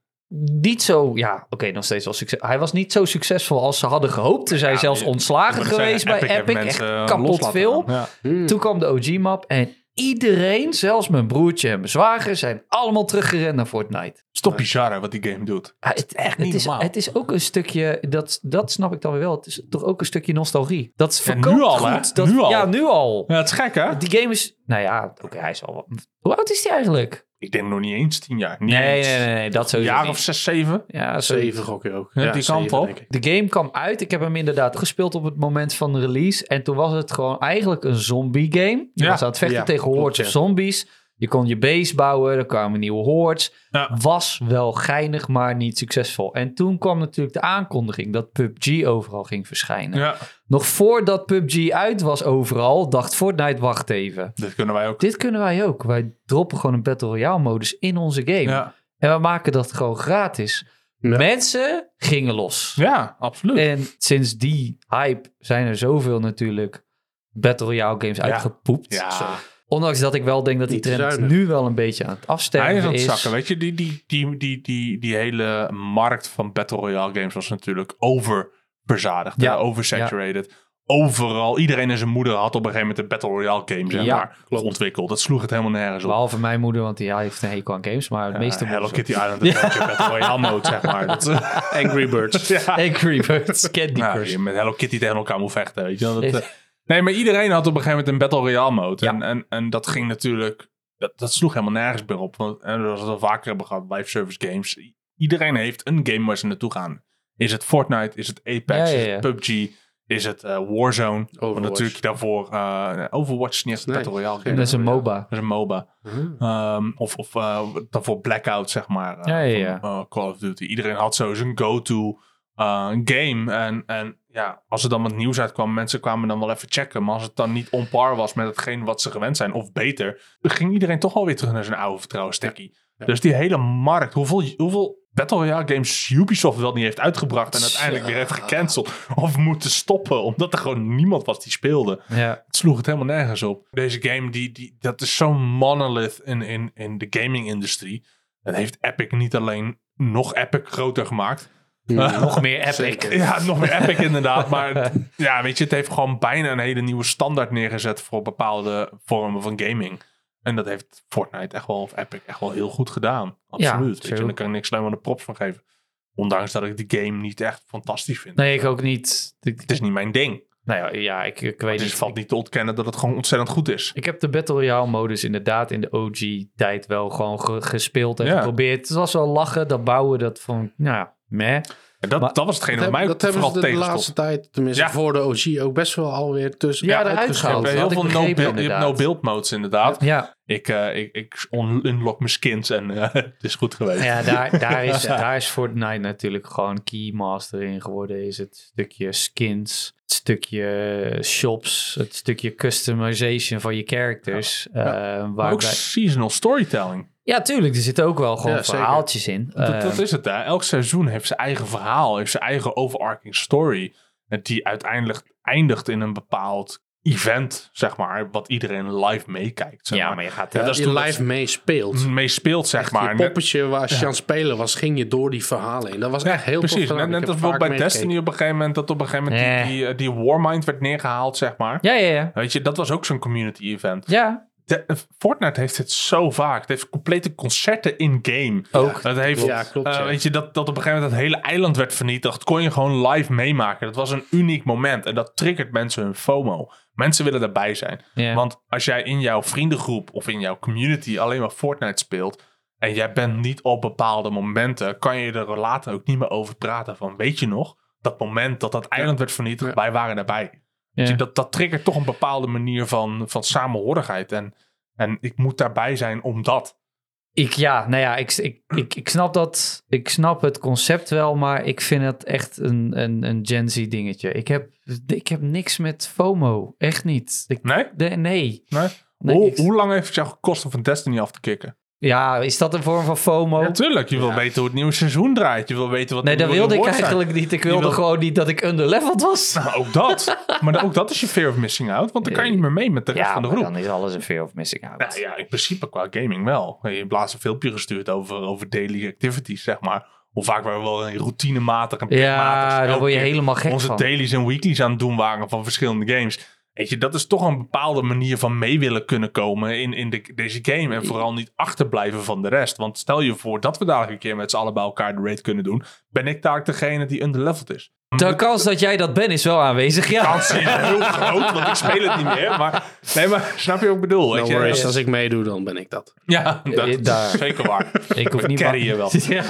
B: niet zo, ja, oké, nog steeds wel succes. Hij was niet zo succesvol als ze hadden gehoopt. Ze zijn
C: Ja,
B: zelfs
C: ik-
B: ontslagen
C: Ik moet
B: geweest
C: zeggen,
B: bij
C: heeft
B: Epic. Echt
C: mensen, eh, los
B: kapot
C: laten
B: veel.
C: gaan. Ja.
D: Hmm.
B: Toen kwam de OG-map en iedereen, zelfs mijn broertje en mijn zwager, zijn allemaal teruggerend naar Fortnite.
C: Stop bizar hè, wat die game doet.
B: Ah, het, echt,
C: niet
B: het, is,
C: normaal.
B: het is ook een stukje, dat, dat snap ik dan weer wel, het is toch ook een stukje nostalgie. Dat
C: Ja, nu
B: verkoopt
C: al, hè?
B: goed. Dat,
C: Nu al.
B: Ja, nu al.
C: Ja, het is gek hè?
B: Die game is, nou ja, oké, hij is al wat... Hoe oud is die eigenlijk?
C: Ik denk nog niet eens tien jaar. Niet
B: Nee,
C: eens.
B: nee, nee, nee dat
C: Een
B: sowieso
C: jaar
B: niet.
C: of zes, zeven.
B: Ja, sowieso.
D: Zeven gok ik ook.
C: Ja, die kant
D: zeven,
C: op.
D: denk ik.
B: De game kwam uit. Ik heb hem inderdaad gespeeld op het moment van de release. En toen was het gewoon eigenlijk een zombie game. Je
C: Ja.
B: was aan het vechten
D: Ja,
B: tegen hordes
D: klopt, ja.
B: of zombies. Je kon je base bouwen. Er kwamen nieuwe hordes.
C: Ja.
B: Was wel geinig, maar niet succesvol. En toen kwam natuurlijk de aankondiging dat PUBG overal ging verschijnen.
C: Ja.
B: Nog voordat PUBG uit was overal, dacht Fortnite, wacht even.
C: Dat kunnen wij ook.
B: Dit kunnen wij ook. Wij droppen gewoon een Battle Royale modus in onze game.
C: Ja,
B: En we maken dat gewoon gratis.
D: Ja.
B: Mensen gingen los.
C: ja absoluut.
B: En sinds die hype zijn er zoveel natuurlijk Battle Royale games uitgepoept.
C: ja.
B: Ondanks dat ik wel denk dat die
D: Niet te
B: trend
D: zuinig.
B: nu wel een beetje aan het
C: Hij is
B: afsterven
C: aan het
B: is.
C: zakken. Weet je, die, die, die, die, die, die hele markt van Battle Royale games was natuurlijk oververzadigd.
B: Ja.
C: Ja. Oversaturated. Overal. Iedereen en zijn moeder had op een gegeven moment een Battle Royale game zeg
B: Ja,
C: maar, ontwikkeld. Dat sloeg het helemaal nergens op.
B: Behalve mijn moeder, want die ja, heeft een hekel aan games. Maar het meeste
C: Ja, Hello
B: moeder-
C: Kitty Island Adventure Battle Royale mode, zeg maar. Dat,
D: Angry Birds.
C: ja.
B: Angry Birds, Candy
C: Ja,
B: Crush.
C: je met Hello Kitty tegen elkaar moet vechten. Weet je? wel. Dat,
B: Is-
C: eh, nee, maar iedereen had op een gegeven moment een Battle Royale mode.
B: Ja.
C: En, en, en dat ging natuurlijk... Dat, dat sloeg helemaal nergens meer op. Want, en zoals we het al vaker hebben gehad, live service games. i- Iedereen heeft een game waar ze naartoe gaan. Is het Fortnite? Is het Apex?
B: Ja, ja,
C: Is
B: ja.
C: het PUBG? Is het eh, Warzone? Want
D: Overwatch.
C: natuurlijk daarvoor... eh, Overwatch is niet echt een
D: Nee,
C: Battle Royale game.
D: geen-
B: Dat is een
D: Ja.
B: MOBA.
C: Dat is een MOBA.
D: Hmm.
C: Ehm, of of eh, daarvoor Blackout, zeg maar. eh,
B: Ja, ja, ja.
C: van, eh, Call of Duty. Iedereen had zo zijn go-to eh, game. En, en ja, als er dan wat nieuws uitkwam, mensen kwamen dan wel even checken. Maar als het dan niet on par was met hetgeen wat ze gewend zijn, of beter, dan ging iedereen toch alweer terug naar zijn oude vertrouwen stekkie.
D: Ja.
C: Dus die hele markt, hoeveel, hoeveel Battle Royale games Ubisoft wel niet heeft uitgebracht en uiteindelijk weer heeft gecanceld. Of moeten stoppen, omdat er gewoon niemand was die speelde.
B: Ja.
C: Het sloeg het helemaal nergens op. Deze game, die, die, dat is zo'n monolith in, in, in de gaming-industrie. Dat heeft Epic niet alleen nog Epic groter gemaakt.
B: Nog meer
D: Zeker.
B: epic.
C: Ja, nog meer Epic inderdaad. Maar het- ja, weet je, het heeft gewoon bijna een hele nieuwe standaard neergezet voor bepaalde vormen van gaming. En dat heeft Fortnite echt wel, of Epic echt wel heel goed gedaan. Absoluut. weet je,
B: true.
C: en daar kan ik niks alleen maar de props van geven. Ondanks dat ik de game niet echt fantastisch vind.
B: Nee, ik ook niet. Ik-
C: Het is niet mijn ding.
B: nou ja, ja ik, ik weet
C: Dus het
B: niet.
C: valt niet te ontkennen dat het gewoon ontzettend goed is.
B: Ik heb de Battle Royale modus inderdaad in de OG-tijd wel gewoon ge- gespeeld en
C: Ja.
B: geprobeerd. Het was wel lachen, dat bouwen, dat van, nou ja, meh.
C: En dat,
B: Maar-
C: dat was hetgene
D: Dat,
C: wat mij
D: heb-
C: ook
D: dat hebben
C: vooral
D: ze de
C: tegenstond.
D: laatste tijd, tenminste
C: Ja.
D: voor de OG, ook best wel alweer tussen.
B: Ja, eruit
D: uitgeschoven.
B: gehaald.
C: Bij
B: Dat
C: heel
B: had
C: veel
B: ik
C: no
B: begrepen,
C: build, je hebt
B: inderdaad.
C: no-build modes inderdaad.
B: Ja,
C: Ik, eh, ik, ik on- unlock mijn skins en eh, het is goed geweest.
B: Ja, daar, daar, is, daar is Fortnite natuurlijk gewoon keymaster in geworden. Is het stukje skins, het stukje shops, het stukje customization van je characters. eh,
C: Maar ook
B: waarbij-
C: seasonal storytelling.
B: ja, tuurlijk, er zitten ook wel gewoon
D: Ja, zeker.
B: verhaaltjes in.
C: Dat,
B: Eh,
C: dat is het. Hè. Elk seizoen heeft zijn eigen verhaal, heeft zijn eigen overarching story. En Die uiteindelijk eindigt in een bepaald event, zeg maar, wat iedereen live meekijkt. Zeg
B: ja,
C: maar.
B: maar je gaat...
C: Ja,
D: dat
C: dat is
D: je
C: toen
D: live meespeelt.
C: mee speelt, zeg
D: Echt,
C: maar.
D: je
C: En-
D: poppetje waar als je aan het spelen was, ging je door die verhalen heen. Dat was echt heel
C: Precies,
D: tof gedaan.
C: net, net
D: Ik
C: als
D: heb
C: bijvoorbeeld bij
D: vaak
C: Destiny
D: meegekeken.
C: op een gegeven moment, dat op een gegeven moment
B: Eh.
C: die, die, eh, die Warmind werd neergehaald, zeg maar.
B: Ja, ja, ja.
C: Weet je, dat was ook zo'n community event.
B: Ja,
C: De- eh, Fortnite heeft dit zo vaak. Het heeft complete concerten in-game.
B: Ook.
C: Dat heeft,
D: Ja, klopt,
C: eh,
D: ja.
C: Weet je, dat, dat op een gegeven moment dat hele eiland werd vernietigd, kon je gewoon live meemaken. Dat was een uniek moment en dat triggert mensen hun FOMO. Mensen willen daarbij zijn.
B: ja.
C: Want als jij in jouw vriendengroep of in jouw community alleen maar Fortnite speelt en jij bent niet op bepaalde momenten, kan je er later ook niet meer over praten van weet je nog, dat moment dat dat eiland werd vernietigd,
D: Ja.
C: wij waren daarbij.
B: Ja.
C: Dus dat, dat triggert toch een bepaalde manier van, van samenhorigheid en, en ik moet daarbij zijn omdat.
B: Ik, ja, nou ja, ik, ik, ik, ik snap dat. Ik snap het concept wel, maar ik vind het echt een, een, een Gen Z dingetje. Ik heb, ik heb niks met FOMO. Echt niet. Ik,
C: Nee?
B: de- nee.
C: nee?
B: Nee,
C: hoe,
B: ik-
C: hoe lang heeft het jou gekost om van Destiny af te kicken?
B: Ja, is dat een vorm van FOMO?
C: Natuurlijk, je wil weten hoe het nieuwe seizoen draait. Je wil weten
B: Oh.
C: wat
B: nee,
C: de
B: dat
C: nieuwe
B: wilde ik
C: rewards zijn.
B: eigenlijk niet. Ik wilde
C: wil-
B: gewoon niet dat ik underleveled was.
C: Nou, ook dat. maar dan- ook dat is je fear of missing out, want dan kan je niet meer mee met de rest van de groep.
B: is alles een fear of missing out.
C: Nou ja, in principe qua gaming wel. Je hebt laatst een filmpje gestuurd over, over daily activities, zeg maar. Hoe vaak we wel in routinematig en
B: Ja,
C: plichtmatig
B: daar
C: elke
B: word je
C: keer
B: helemaal gek
C: onze
B: van.
C: dailies en weeklies aan het doen waren van verschillende games. Weet je, dat is toch een bepaalde manier van mee willen kunnen komen in, in de, deze game. En vooral niet achterblijven van de rest. Want stel je voor dat we dadelijk een keer met z'n allen bij elkaar de raid kunnen doen. Ben ik daar degene die underleveled is?
B: De kans dat jij dat bent is wel aanwezig, ja.
C: kans is heel groot, want ik speel het niet meer. Maar, nee, maar snap je wat ik bedoel? weet
D: No
C: je?
D: worries, als ik meedoe, dan ben ik dat.
C: Ja, dat
B: Eh, daar.
C: is zeker waar.
B: Ik hoef
C: We
B: niet
C: carryen
B: bang-
C: wel.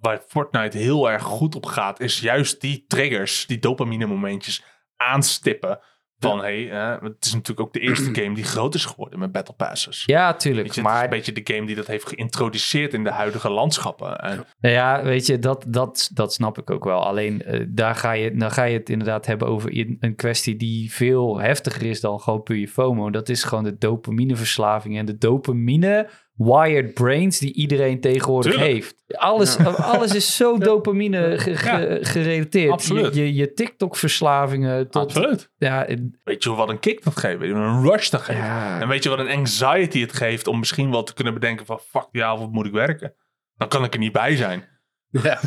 C: Waar Fortnite heel erg goed op gaat, is juist die triggers, die dopamine momentjes aanstippen. Van, hé, hey, eh, het is natuurlijk ook de eerste game die groot is geworden met Battle Passes.
B: Ja,
C: Weet
B: tuurlijk.
C: je, het is
B: maar
C: een beetje de game die dat heeft geïntroduceerd in de huidige landschappen. En,
B: Nou ja, weet je, dat, dat, dat snap ik ook wel. Alleen eh, daar ga je, dan ga je het inderdaad hebben over in- een kwestie die veel heftiger is dan gewoon puur je FOMO. Dat is gewoon de dopamineverslaving en de dopamine wired brains die iedereen tegenwoordig
C: Tuurlijk.
B: heeft. Alles, alles is zo dopamine ge- ge-
C: Ja.
B: gerelateerd.
C: Absoluut.
B: Je, je, je TikTok-verslavingen tot...
C: Absoluut.
B: Ja, eh, en-
C: Weet je wat een kick dat geeft? Weet je wat een rush dat geeft?
B: ja,
C: En weet je wat een anxiety het geeft om misschien wel te kunnen bedenken van... Fuck, die avond moet ik werken. Dan kan ik er niet bij zijn.
D: Ja.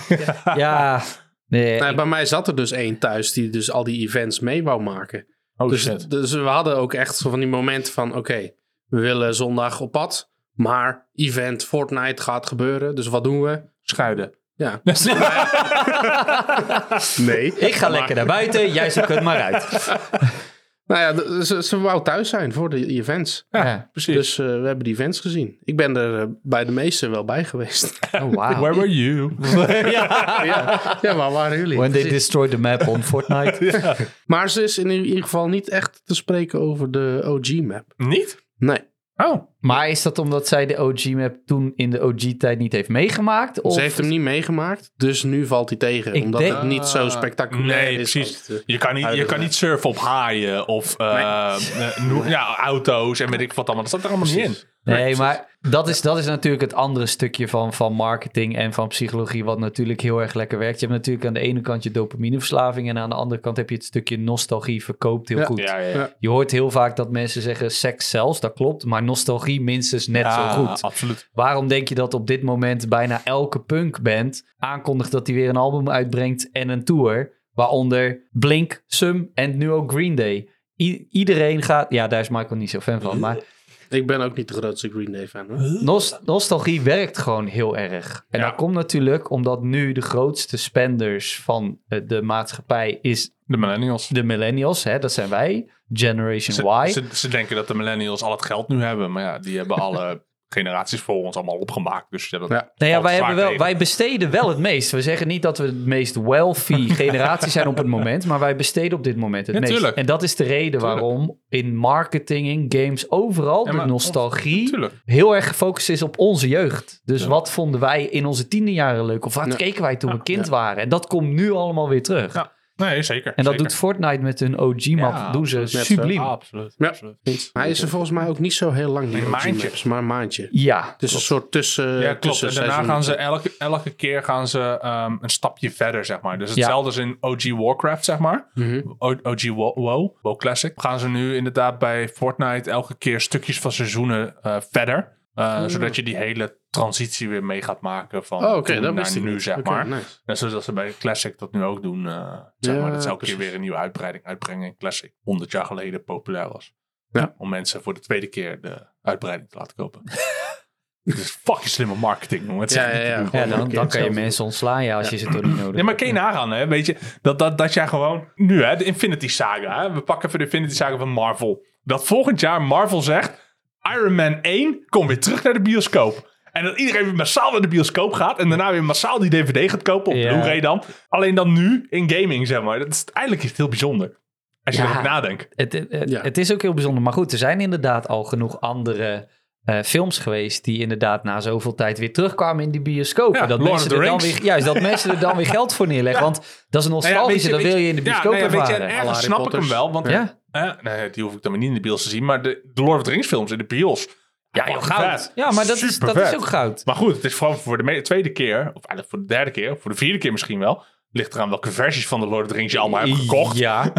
B: ja, nee,
D: Nou,
B: ik-
D: bij mij zat er dus één thuis die dus al die events mee wou maken.
C: Oh
D: dus, dus we hadden ook echt zo van die momenten van... oké, we willen zondag op pad, maar event Fortnite gaat gebeuren. Dus wat doen we?
C: Schuiden.
D: Ja,
B: ik...
D: nee.
B: ga lekker naar buiten, jij zoekt het maar uit.
D: Nou ja, d- ze, ze wou thuis zijn voor de events.
B: Ja.
C: Precies.
D: Dus eh, we hebben die events gezien. Ik ben er eh, bij de meeste wel bij geweest.
B: Oh, wow.
C: Where were you?
D: ja, ja, waar waren jullie?
B: When they
D: Precies.
B: destroy the map on Fortnite.
D: Maar ze is in ieder geval niet echt te spreken over de OG-map.
C: Niet?
D: Nee.
C: Oh.
B: Maar is dat omdat zij de OG-map toen in de OG-tijd niet heeft meegemaakt? Of...
D: Ze heeft hem niet meegemaakt, dus nu valt hij tegen.
B: Ik
D: omdat
B: denk-
D: het niet zo spectaculair
C: Ah, Nee,
D: is.
C: precies.
D: als het, eh,
C: Je kan niet, je
D: Huidige
C: kan niet surfen op haaien of eh, eh, no- ja, auto's en weet ik wat allemaal. Dat staat er allemaal niet in.
B: Nee, maar dat is, dat is natuurlijk het andere stukje van, van marketing en van psychologie, wat natuurlijk heel erg lekker werkt. Je hebt natuurlijk aan de ene kant je dopamineverslaving en aan de andere kant heb je het stukje nostalgie verkoopt heel
D: Ja.
B: goed.
C: Ja, ja, ja.
D: Ja.
B: Je hoort heel vaak dat mensen zeggen seks zelfs, dat klopt, maar nostalgie minstens net
C: Ja,
B: zo goed.
C: Absoluut.
B: Waarom denk je dat op dit moment bijna elke punkband aankondigt dat hij weer een album uitbrengt en een tour? Waaronder Blink, Sum en nu ook Green Day. I- iedereen gaat... Ja, daar is Michael niet zo fan van. Maar
D: Ik ben ook niet de grootste Green Day fan. Hoor.
B: nos- nostalgie werkt gewoon heel erg. En
C: Ja.
B: dat komt natuurlijk omdat nu de grootste spenders van eh, de maatschappij is
C: De millennials.
B: de millennials. Hè? Dat zijn wij. Generation
C: Ze,
B: Y.
C: ze, ze denken dat de millennials al het geld nu hebben, maar ja, die hebben alle generaties voor ons allemaal opgemaakt. Dus ja, dat
D: Ja.
C: valt
B: Nou ja, wij,
C: vaak
B: hebben wel,
C: tegen.
B: wij besteden wel het meest. We zeggen niet dat we het meest wealthy generatie zijn op het moment, maar wij besteden op dit moment het
C: Ja,
B: meest.
C: tuurlijk.
B: En dat is de reden
C: Tuurlijk.
B: waarom in marketing, in games, overal
C: Ja,
B: de
C: maar-
B: nostalgie
C: Tuurlijk.
B: heel erg gefocust is op onze jeugd. Dus
C: Ja.
B: wat vonden wij in onze tiende jaren leuk? Of wat
D: Ja.
B: keken wij toen
C: Ja.
B: we kind waren? En dat komt nu allemaal weer terug.
C: Ja, Nee, zeker.
B: en dat
C: zeker.
B: doet Fortnite met hun OG-map.
C: Ja,
B: doen ze
C: net
D: zo.
B: subliem.
C: Ah, absoluut.
D: Ja.
C: absoluut.
D: Hij is er volgens mij ook niet zo heel lang. Die
C: Een
D: OG
C: maandje.
D: maps, maar een maandje.
B: Ja,
D: Het is een soort tussen.
C: Ja, klopt. En daarna
D: tussenseizoen.
C: gaan ze elke, elke keer gaan ze ehm, een stapje verder, zeg maar. Dus
B: Ja.
C: hetzelfde als in OG Warcraft, zeg maar.
D: Mhm.
C: O- OG WoW, WoW, WoW Classic. Gaan ze nu inderdaad bij Fortnite elke keer stukjes van seizoenen eh, verder. Eh, Zodat je die hele transitie weer mee gaat maken van
D: Ah. Oh, oké,
C: toen
D: dat
C: naar
D: wist ik
C: nu,
D: niet.
C: zeg
D: Oké,
C: maar.
D: nice.
C: Net zoals dat ze bij Classic dat nu ook doen. eh, zeg
D: Ja,
C: maar, dat ze elke keer
D: precies.
C: weer een nieuwe uitbreiding uitbrengen in Classic. 100 jaar geleden populair was.
D: Ja.
C: Om mensen voor de tweede keer de uitbreiding te laten kopen. Het is fucking slimme marketing, jongen. Het is
D: Ja,
C: echt
D: ja,
C: niet
D: ja.
C: te
B: ja
C: doen.
D: Gewoon
B: dan,
D: een keer
B: dan kan je
D: hetzelfde.
B: mensen ontslaan ja, als je ze toch niet nodig
C: Nee, maar
B: hebt.
C: kun je nagaan, hè? Weet je, dat, dat, dat jij gewoon... Nu, hè, de Infinity Saga. Hè? We pakken even de Infinity Saga van Marvel. Dat volgend jaar Marvel zegt... Iron Man 1 komt weer terug naar de bioscoop. En dat iedereen weer massaal naar de bioscoop gaat... en daarna weer massaal die DVD gaat kopen, op
B: Ja.
C: Blu-ray dan. Alleen dan nu, in gaming, zeg maar. Dat is, eigenlijk is het heel bijzonder. Als je
B: Ja.
C: erover nadenkt.
B: Het, het,
D: Ja.
B: het is ook heel bijzonder. Maar goed, er zijn inderdaad al genoeg andere eh, films geweest... die inderdaad na zoveel tijd weer terugkwamen in die bioscoop.
C: Ja,
B: En dat
C: Lord of
B: mensen
C: the
B: er dan
C: Rings. Nou
B: weer, juist, dat mensen er dan weer geld voor neerleggen. Want dat is nostalgisch en dat wil je in de bioscoop
C: ja, nee, weet je, eh, en
B: ervaren.
C: ergens
D: Harry
C: snap ik
D: Potters.
C: hem wel. Want,
B: Ja.
C: eh, nee, die hoef ik dan weer niet in de bios te zien. Maar de, de Lord of the Rings films in de bios...
B: ja, joh, goud. Ja, maar dat, is, dat is ook goud.
C: Maar goed, het is vooral voor de me- tweede keer, of eigenlijk voor de derde keer, of voor de vierde keer misschien wel. Ligt eraan welke versies van de Lord of the Rings je allemaal hebt gekocht.
B: Ja.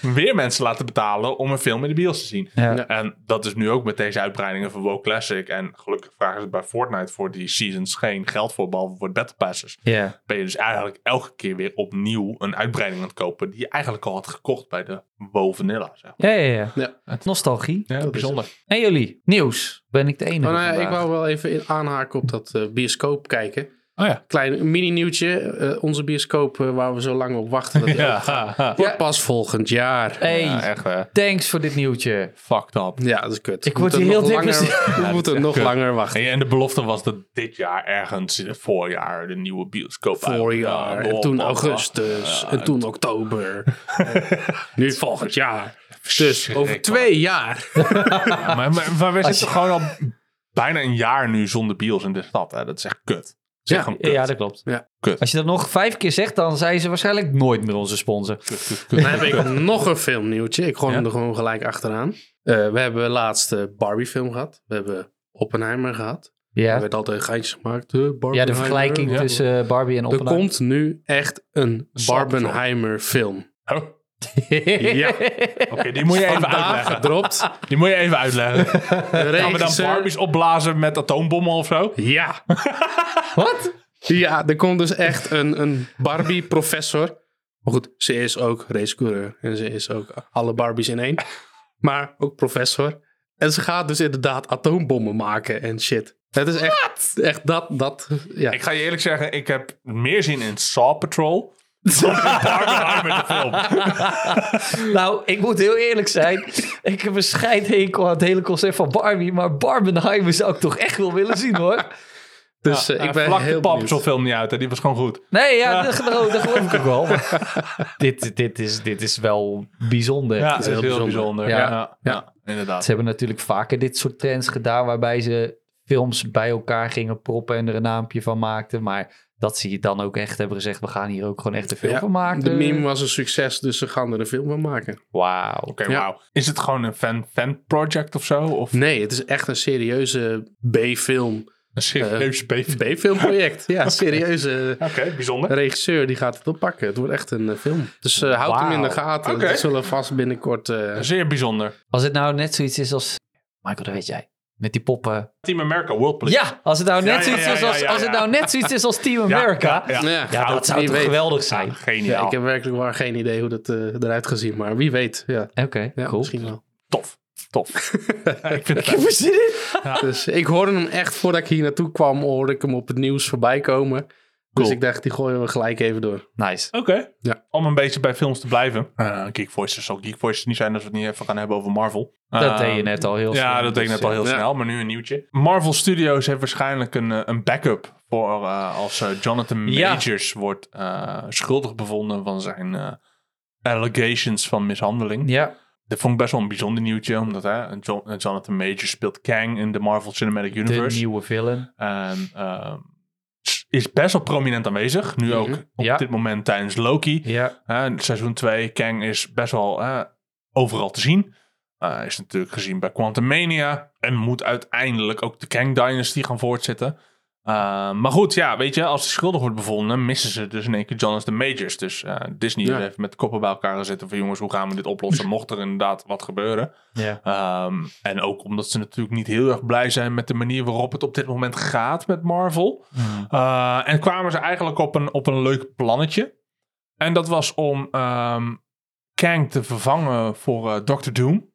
C: Weer mensen laten betalen om een film in de bios te zien.
B: Ja.
D: Ja.
C: En dat is nu ook met deze uitbreidingen van WoW Classic. En gelukkig vragen ze bij Fortnite voor die seasons geen geld voor, behalve voor de Battle Passes.
B: Ja.
C: Ben je dus eigenlijk elke keer weer opnieuw een uitbreiding aan het kopen die je eigenlijk al had gekocht bij de WoW Vanilla. Zeg.
B: Ja, ja, ja.
D: Ja.
B: Nostalgie.
C: maar. Ja, bijzonder.
B: En jullie, nieuws. Ben ik de enige
D: Oh, nou ja, ik
B: vandaag?
D: wou wel even in- aanhaken op dat eh, bioscoop kijken.
C: Oh ja.
D: Klein mini-nieuwtje. eh, onze bioscoop eh, waar we zo lang op wachten. Dat die
C: Ja,
D: open gaat, Wordt pas volgend jaar.
B: Hey,
C: Ja, echt eh,
B: thanks voor dit nieuwtje.
C: fucked up.
D: Ja, dat is kut.
B: Ik
D: We
B: word
D: moeten
B: hier heel
D: nog
B: dik
D: langer-
B: bezig.
D: We moeten
C: is
D: nog
C: echt kut.
D: langer wachten.
C: En, ja, en de belofte was dat dit jaar ergens in het voorjaar de nieuwe bioscoop
D: Voorjaar,
C: uit-
D: en toen
C: Ja,
D: augustus, en toen oktober. nu volgend jaar. Dus over
C: Verschrikkelijk.
D: twee jaar.
C: Maar, maar, maar we zitten gewoon al bijna een jaar nu zonder bios in de stad. Hè? Dat is echt kut. Dat is echt
D: Ja.
C: gewoon kut.
B: Ja, dat klopt.
D: Ja.
C: Kut.
B: Als je dat nog vijf keer zegt, dan zijn ze waarschijnlijk nooit meer onze sponsor.
C: Kut, kut, kut.
D: Dan heb ik nog een filmnieuwtje. Ik gooi
C: Ja?
D: hem er gewoon gelijk achteraan. Eh, we hebben laatst de Barbie film gehad. We hebben Oppenheimer gehad. Er
B: Ja,
D: werd altijd geintjes gemaakt. eh,
B: ja
D: Barbenheimer.
B: de vergelijking
C: Ja.
B: tussen eh, Barbie en
D: Er
B: Oppenheimer.
D: komt nu echt een
C: Soapfilm.
D: Barbenheimer film.
C: Oh, Oké,
D: Ja.
C: die moet je even
D: Vandaag
C: uitleggen.
D: gedropt.
C: Die moet je even uitleggen. Gaan we dan
D: Regisseur-
C: Barbies opblazen met atoombommen of zo?
D: Ja.
B: Wat?
D: Ja, er komt dus echt een, een Barbie-professor. Maar goed, ze is ook racecoureur. En ze is ook alle Barbies in één. Maar ook professor. En ze gaat dus inderdaad atoombommen maken en shit. Het is echt, echt dat, dat, ja.
C: Ik ga je eerlijk zeggen, ik heb meer zin in Saw Patrol... dan in Barbenheimer de film.
B: Nou, ik moet heel eerlijk zijn. Ik heb een scheidhekel aan het hele concept van Barbie. Maar Barbenheimer zou ik toch echt wel willen zien, hoor.
D: Dus eh, ik
C: Ik
D: ben
C: vlak de
D: heel benieuwd.
C: film niet uit. Hè? Die was gewoon goed.
B: Nee, ja, dat, geloof, dat geloof ik ook wel. Maar dit, dit, is, dit is wel bijzonder.
C: Ja,
D: is
C: dat is
D: heel
C: heel
D: bijzonder.
C: bijzonder.
B: Ja.
C: ja. ja, inderdaad.
B: Ze hebben natuurlijk vaker dit soort trends gedaan... waarbij ze films bij elkaar gingen proppen en er een naampje van maakten. Maar dat zie je dan ook echt hebben gezegd... we gaan hier ook gewoon echt een film
D: Ja,
B: van maken.
D: De meme was een succes, dus ze gaan er een film van maken.
B: Wauw.
C: Oké,
D: Ja.
C: wauw. Is het gewoon een fan, fan project of zo? Of
D: Nee, het is echt een serieuze B-film.
C: een
D: Eh,
C: serieus BV?
D: B-filmproject, ja, serieuze...
C: Oké, bijzonder.
D: Een regisseur die gaat het oppakken. Het wordt echt een eh, film. Dus eh, houd hem in de gaten.
C: Oké.
D: Er zullen vast binnenkort... eh,
C: Zeer bijzonder.
B: Als het nou net zoiets is als... Michael, dat weet jij. Met die poppen.
C: Team America, World Police.
B: Ja, als het nou net
C: ja,
B: zoiets
C: ja,
B: is
C: ja,
B: als-
C: ja,
B: als het
C: ja.
B: nou net zoiets is als Team America.
C: ja.
D: nou ja.
B: Ja, dat zou
D: wie
B: toch
D: weet.
B: geweldig zijn.
D: Ja,
C: Geniaal.
D: ik heb werkelijk waar geen idee hoe dat eh, eruit gaat zien. Maar wie weet. Ja,
B: Oké,
D: ja
B: cool.
D: misschien wel.
C: Tof. Tof. Ja, ik vind het
B: heb er zin in.
D: eh, Dus ik hoorde hem echt voordat ik hier naartoe kwam, hoorde ik hem op het nieuws voorbij komen. Dus
C: Cool.
D: ik dacht, die gooien we gelijk even door.
B: Nice.
C: Oké.
D: Ja.
C: Om een beetje bij films te blijven. Eh Geek Voices zal Geek Voices niet zijn als we het niet even gaan hebben over Marvel.
B: Dat
C: Eh,
B: deed je net al heel snel.
C: Ja, dat deed ik net al heel
D: ja.
C: snel, maar nu een nieuwtje. Marvel Studios heeft waarschijnlijk een, eh, een backup voor eh, als eh, Jonathan
B: Ja.
C: Majors wordt eh, schuldig bevonden van zijn eh, allegations van mishandeling.
B: Ja,
C: Dat vond ik best wel een bijzonder nieuwtje, omdat hè, Jo- eh, Jonathan Majors speelt Kang in de Marvel Cinematic
B: de
C: Universe.
B: nieuwe villain.
C: En ehm, is best wel prominent aanwezig, nu ook
D: Mhm.
C: op
B: Ja.
C: dit moment tijdens Loki.
B: Ja,
C: Hè, in seizoen 2, Kang is best wel hè, overal te zien. Eh, is natuurlijk gezien bij Quantumania. En moet uiteindelijk ook de Kang Dynasty gaan voortzetten. Eh, maar goed, ja, weet je, als de schuldig wordt bevonden, missen ze dus in één keer Jonas de Majors. Dus eh, Disney
D: Ja.
C: heeft met de koppen bij elkaar gezeten van jongens, hoe gaan we dit oplossen? Mocht er inderdaad wat gebeuren.
B: ja.
C: Ehm, en ook omdat ze natuurlijk niet heel erg blij zijn met de manier waarop het op dit moment gaat met Marvel. Uh, en kwamen ze eigenlijk op een, op een leuk plannetje. En dat was om ehm, Kang te vervangen voor eh Doctor Doom.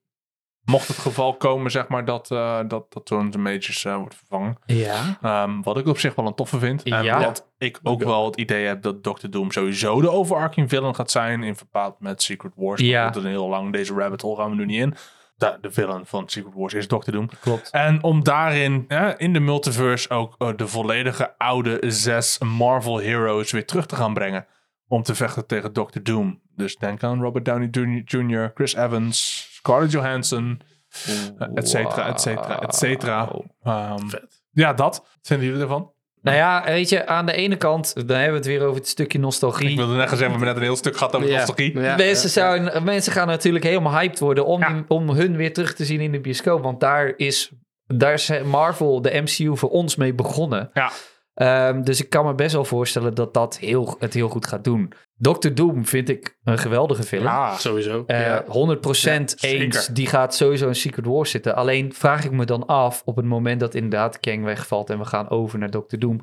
C: Mocht het geval komen, zeg maar, dat, eh dat, dat Jonathan Majors eh, wordt vervangen.
B: Ja.
C: Ehm, wat ik op zich wel een toffe vind. En
B: Ja.
C: wat ik ook wel het idee heb dat Doctor Doom sowieso de overarching villain gaat zijn. In verband met Secret Wars.
B: Ja.
C: Dat is een heel lang, deze rabbit hole gaan we nu niet in. De, de villain van Secret Wars is Doctor Doom.
B: Klopt.
C: En om daarin hè, in de multiverse ook eh, de volledige oude zes Marvel heroes weer terug te gaan brengen. Om te vechten tegen Doctor Doom. Dus denk aan Robert Downey Jr., Chris Evans, Scarlett Johansson, eh, et cetera, et cetera, et cetera. Ehm, ja, dat. Wat vinden jullie ervan?
B: Nou ja, weet je, aan de ene kant, dan hebben we het weer over het stukje nostalgie.
C: Ik wilde net gaan zeggen, we hebben net een heel stuk gehad over
D: Ja.
C: nostalgie.
D: Ja,
B: mensen,
D: ja, ja.
B: zijn, mensen gaan natuurlijk helemaal hyped worden om, die- om hun weer terug te zien in de bioscoop. Want daar is, daar is Marvel, de MCU, voor ons mee begonnen.
C: Ja.
B: Ehm, dus ik kan me best wel voorstellen dat dat heel, het heel goed gaat doen. Doctor Doom vind ik een geweldige film.
C: Ja.
D: Ah, Sowieso.
B: Eh,
D: ja.
B: 100%
C: Ja,
B: eens.
C: zeker.
B: Die gaat sowieso in Secret Wars zitten. Alleen vraag ik me dan af, op het moment dat inderdaad Kang wegvalt en we gaan over naar Doctor Doom,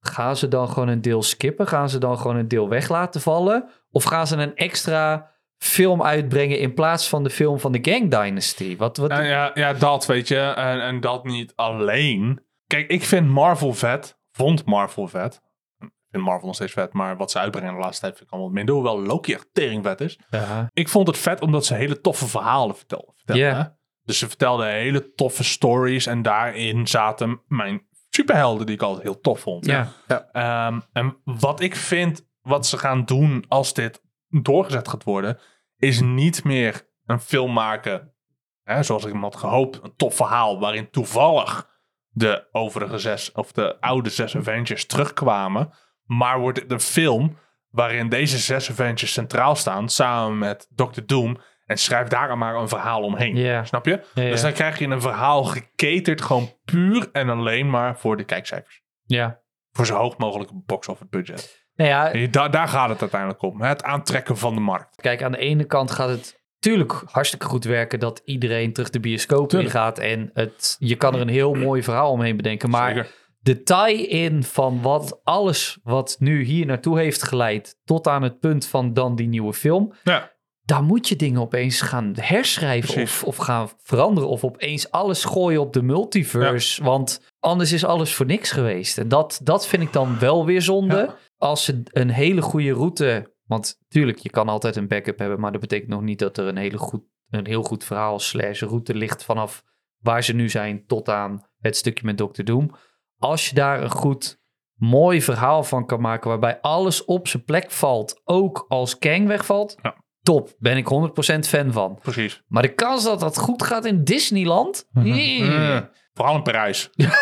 B: gaan ze dan gewoon een deel skippen? Gaan ze dan gewoon een deel weg laten vallen? Of gaan ze een extra film uitbrengen in plaats van de film van de Gang Dynasty? Wat, wat,
C: Nou ja, ja, dat weet je. En, en dat niet alleen. Kijk, ik vind Marvel vet. Vond Marvel vet. Ik vind Marvel nog steeds vet, maar wat ze uitbrengen de laatste tijd vind ik allemaal wat minder. Hoewel Loki echt teringvet is.
B: Ja.
C: Ik vond het vet omdat ze hele toffe verhalen vertel- vertelden.
B: Ja.
C: hè. Dus ze vertelden hele toffe stories en daarin zaten mijn superhelden die ik altijd heel tof vond.
B: Ja.
C: Ehm, en wat ik vind, wat ze gaan doen als dit doorgezet gaat worden, is niet meer een film maken, hè, zoals ik hem had gehoopt, een tof verhaal waarin toevallig de overige zes, of de oude zes Avengers terugkwamen, maar wordt het een film waarin deze zes Avengers centraal staan, samen met Doctor Doom, en schrijf daar maar een verhaal omheen.
B: Ja.
C: Snap je?
B: Ja, ja.
C: Dus dan krijg je een verhaal geketerd, gewoon puur en alleen maar voor de kijkcijfers
B: ja.
C: voor zo hoog mogelijke box-office budget.
B: Nou ja,
C: En je- daar- daar gaat het uiteindelijk om. hè, Het aantrekken van de markt.
B: Kijk, aan de ene kant gaat het natuurlijk hartstikke goed werken dat iedereen terug de bioscoop in
C: Tuurlijk.
B: gaat. En het, je kan er een heel mooi verhaal omheen bedenken. Maar
C: Zeker.
B: de tie-in van wat alles wat nu hier naartoe heeft geleid tot aan het punt van dan die nieuwe film.
C: Ja,
B: Daar moet je dingen opeens gaan herschrijven
C: Precies.
B: of, of gaan veranderen. Of opeens alles gooien op de multiverse. Want anders is alles voor niks geweest. En dat, dat vind ik dan wel weer zonde
C: Ja.
B: als ze een hele goede route. Want tuurlijk, je kan altijd een backup hebben, maar dat betekent nog niet dat er een, hele goed, een heel goed verhaal slash route ligt vanaf waar ze nu zijn tot aan het stukje met Dr. Doom. Als je daar een goed, mooi verhaal van kan maken waarbij alles op zijn plek valt, ook als Kang wegvalt,
C: Ja.
B: top. Ben ik 100% fan van.
C: precies.
B: Maar de kans dat dat goed gaat in Disneyland? Nee.
C: Mm. Vooral in Parijs.
B: Ja,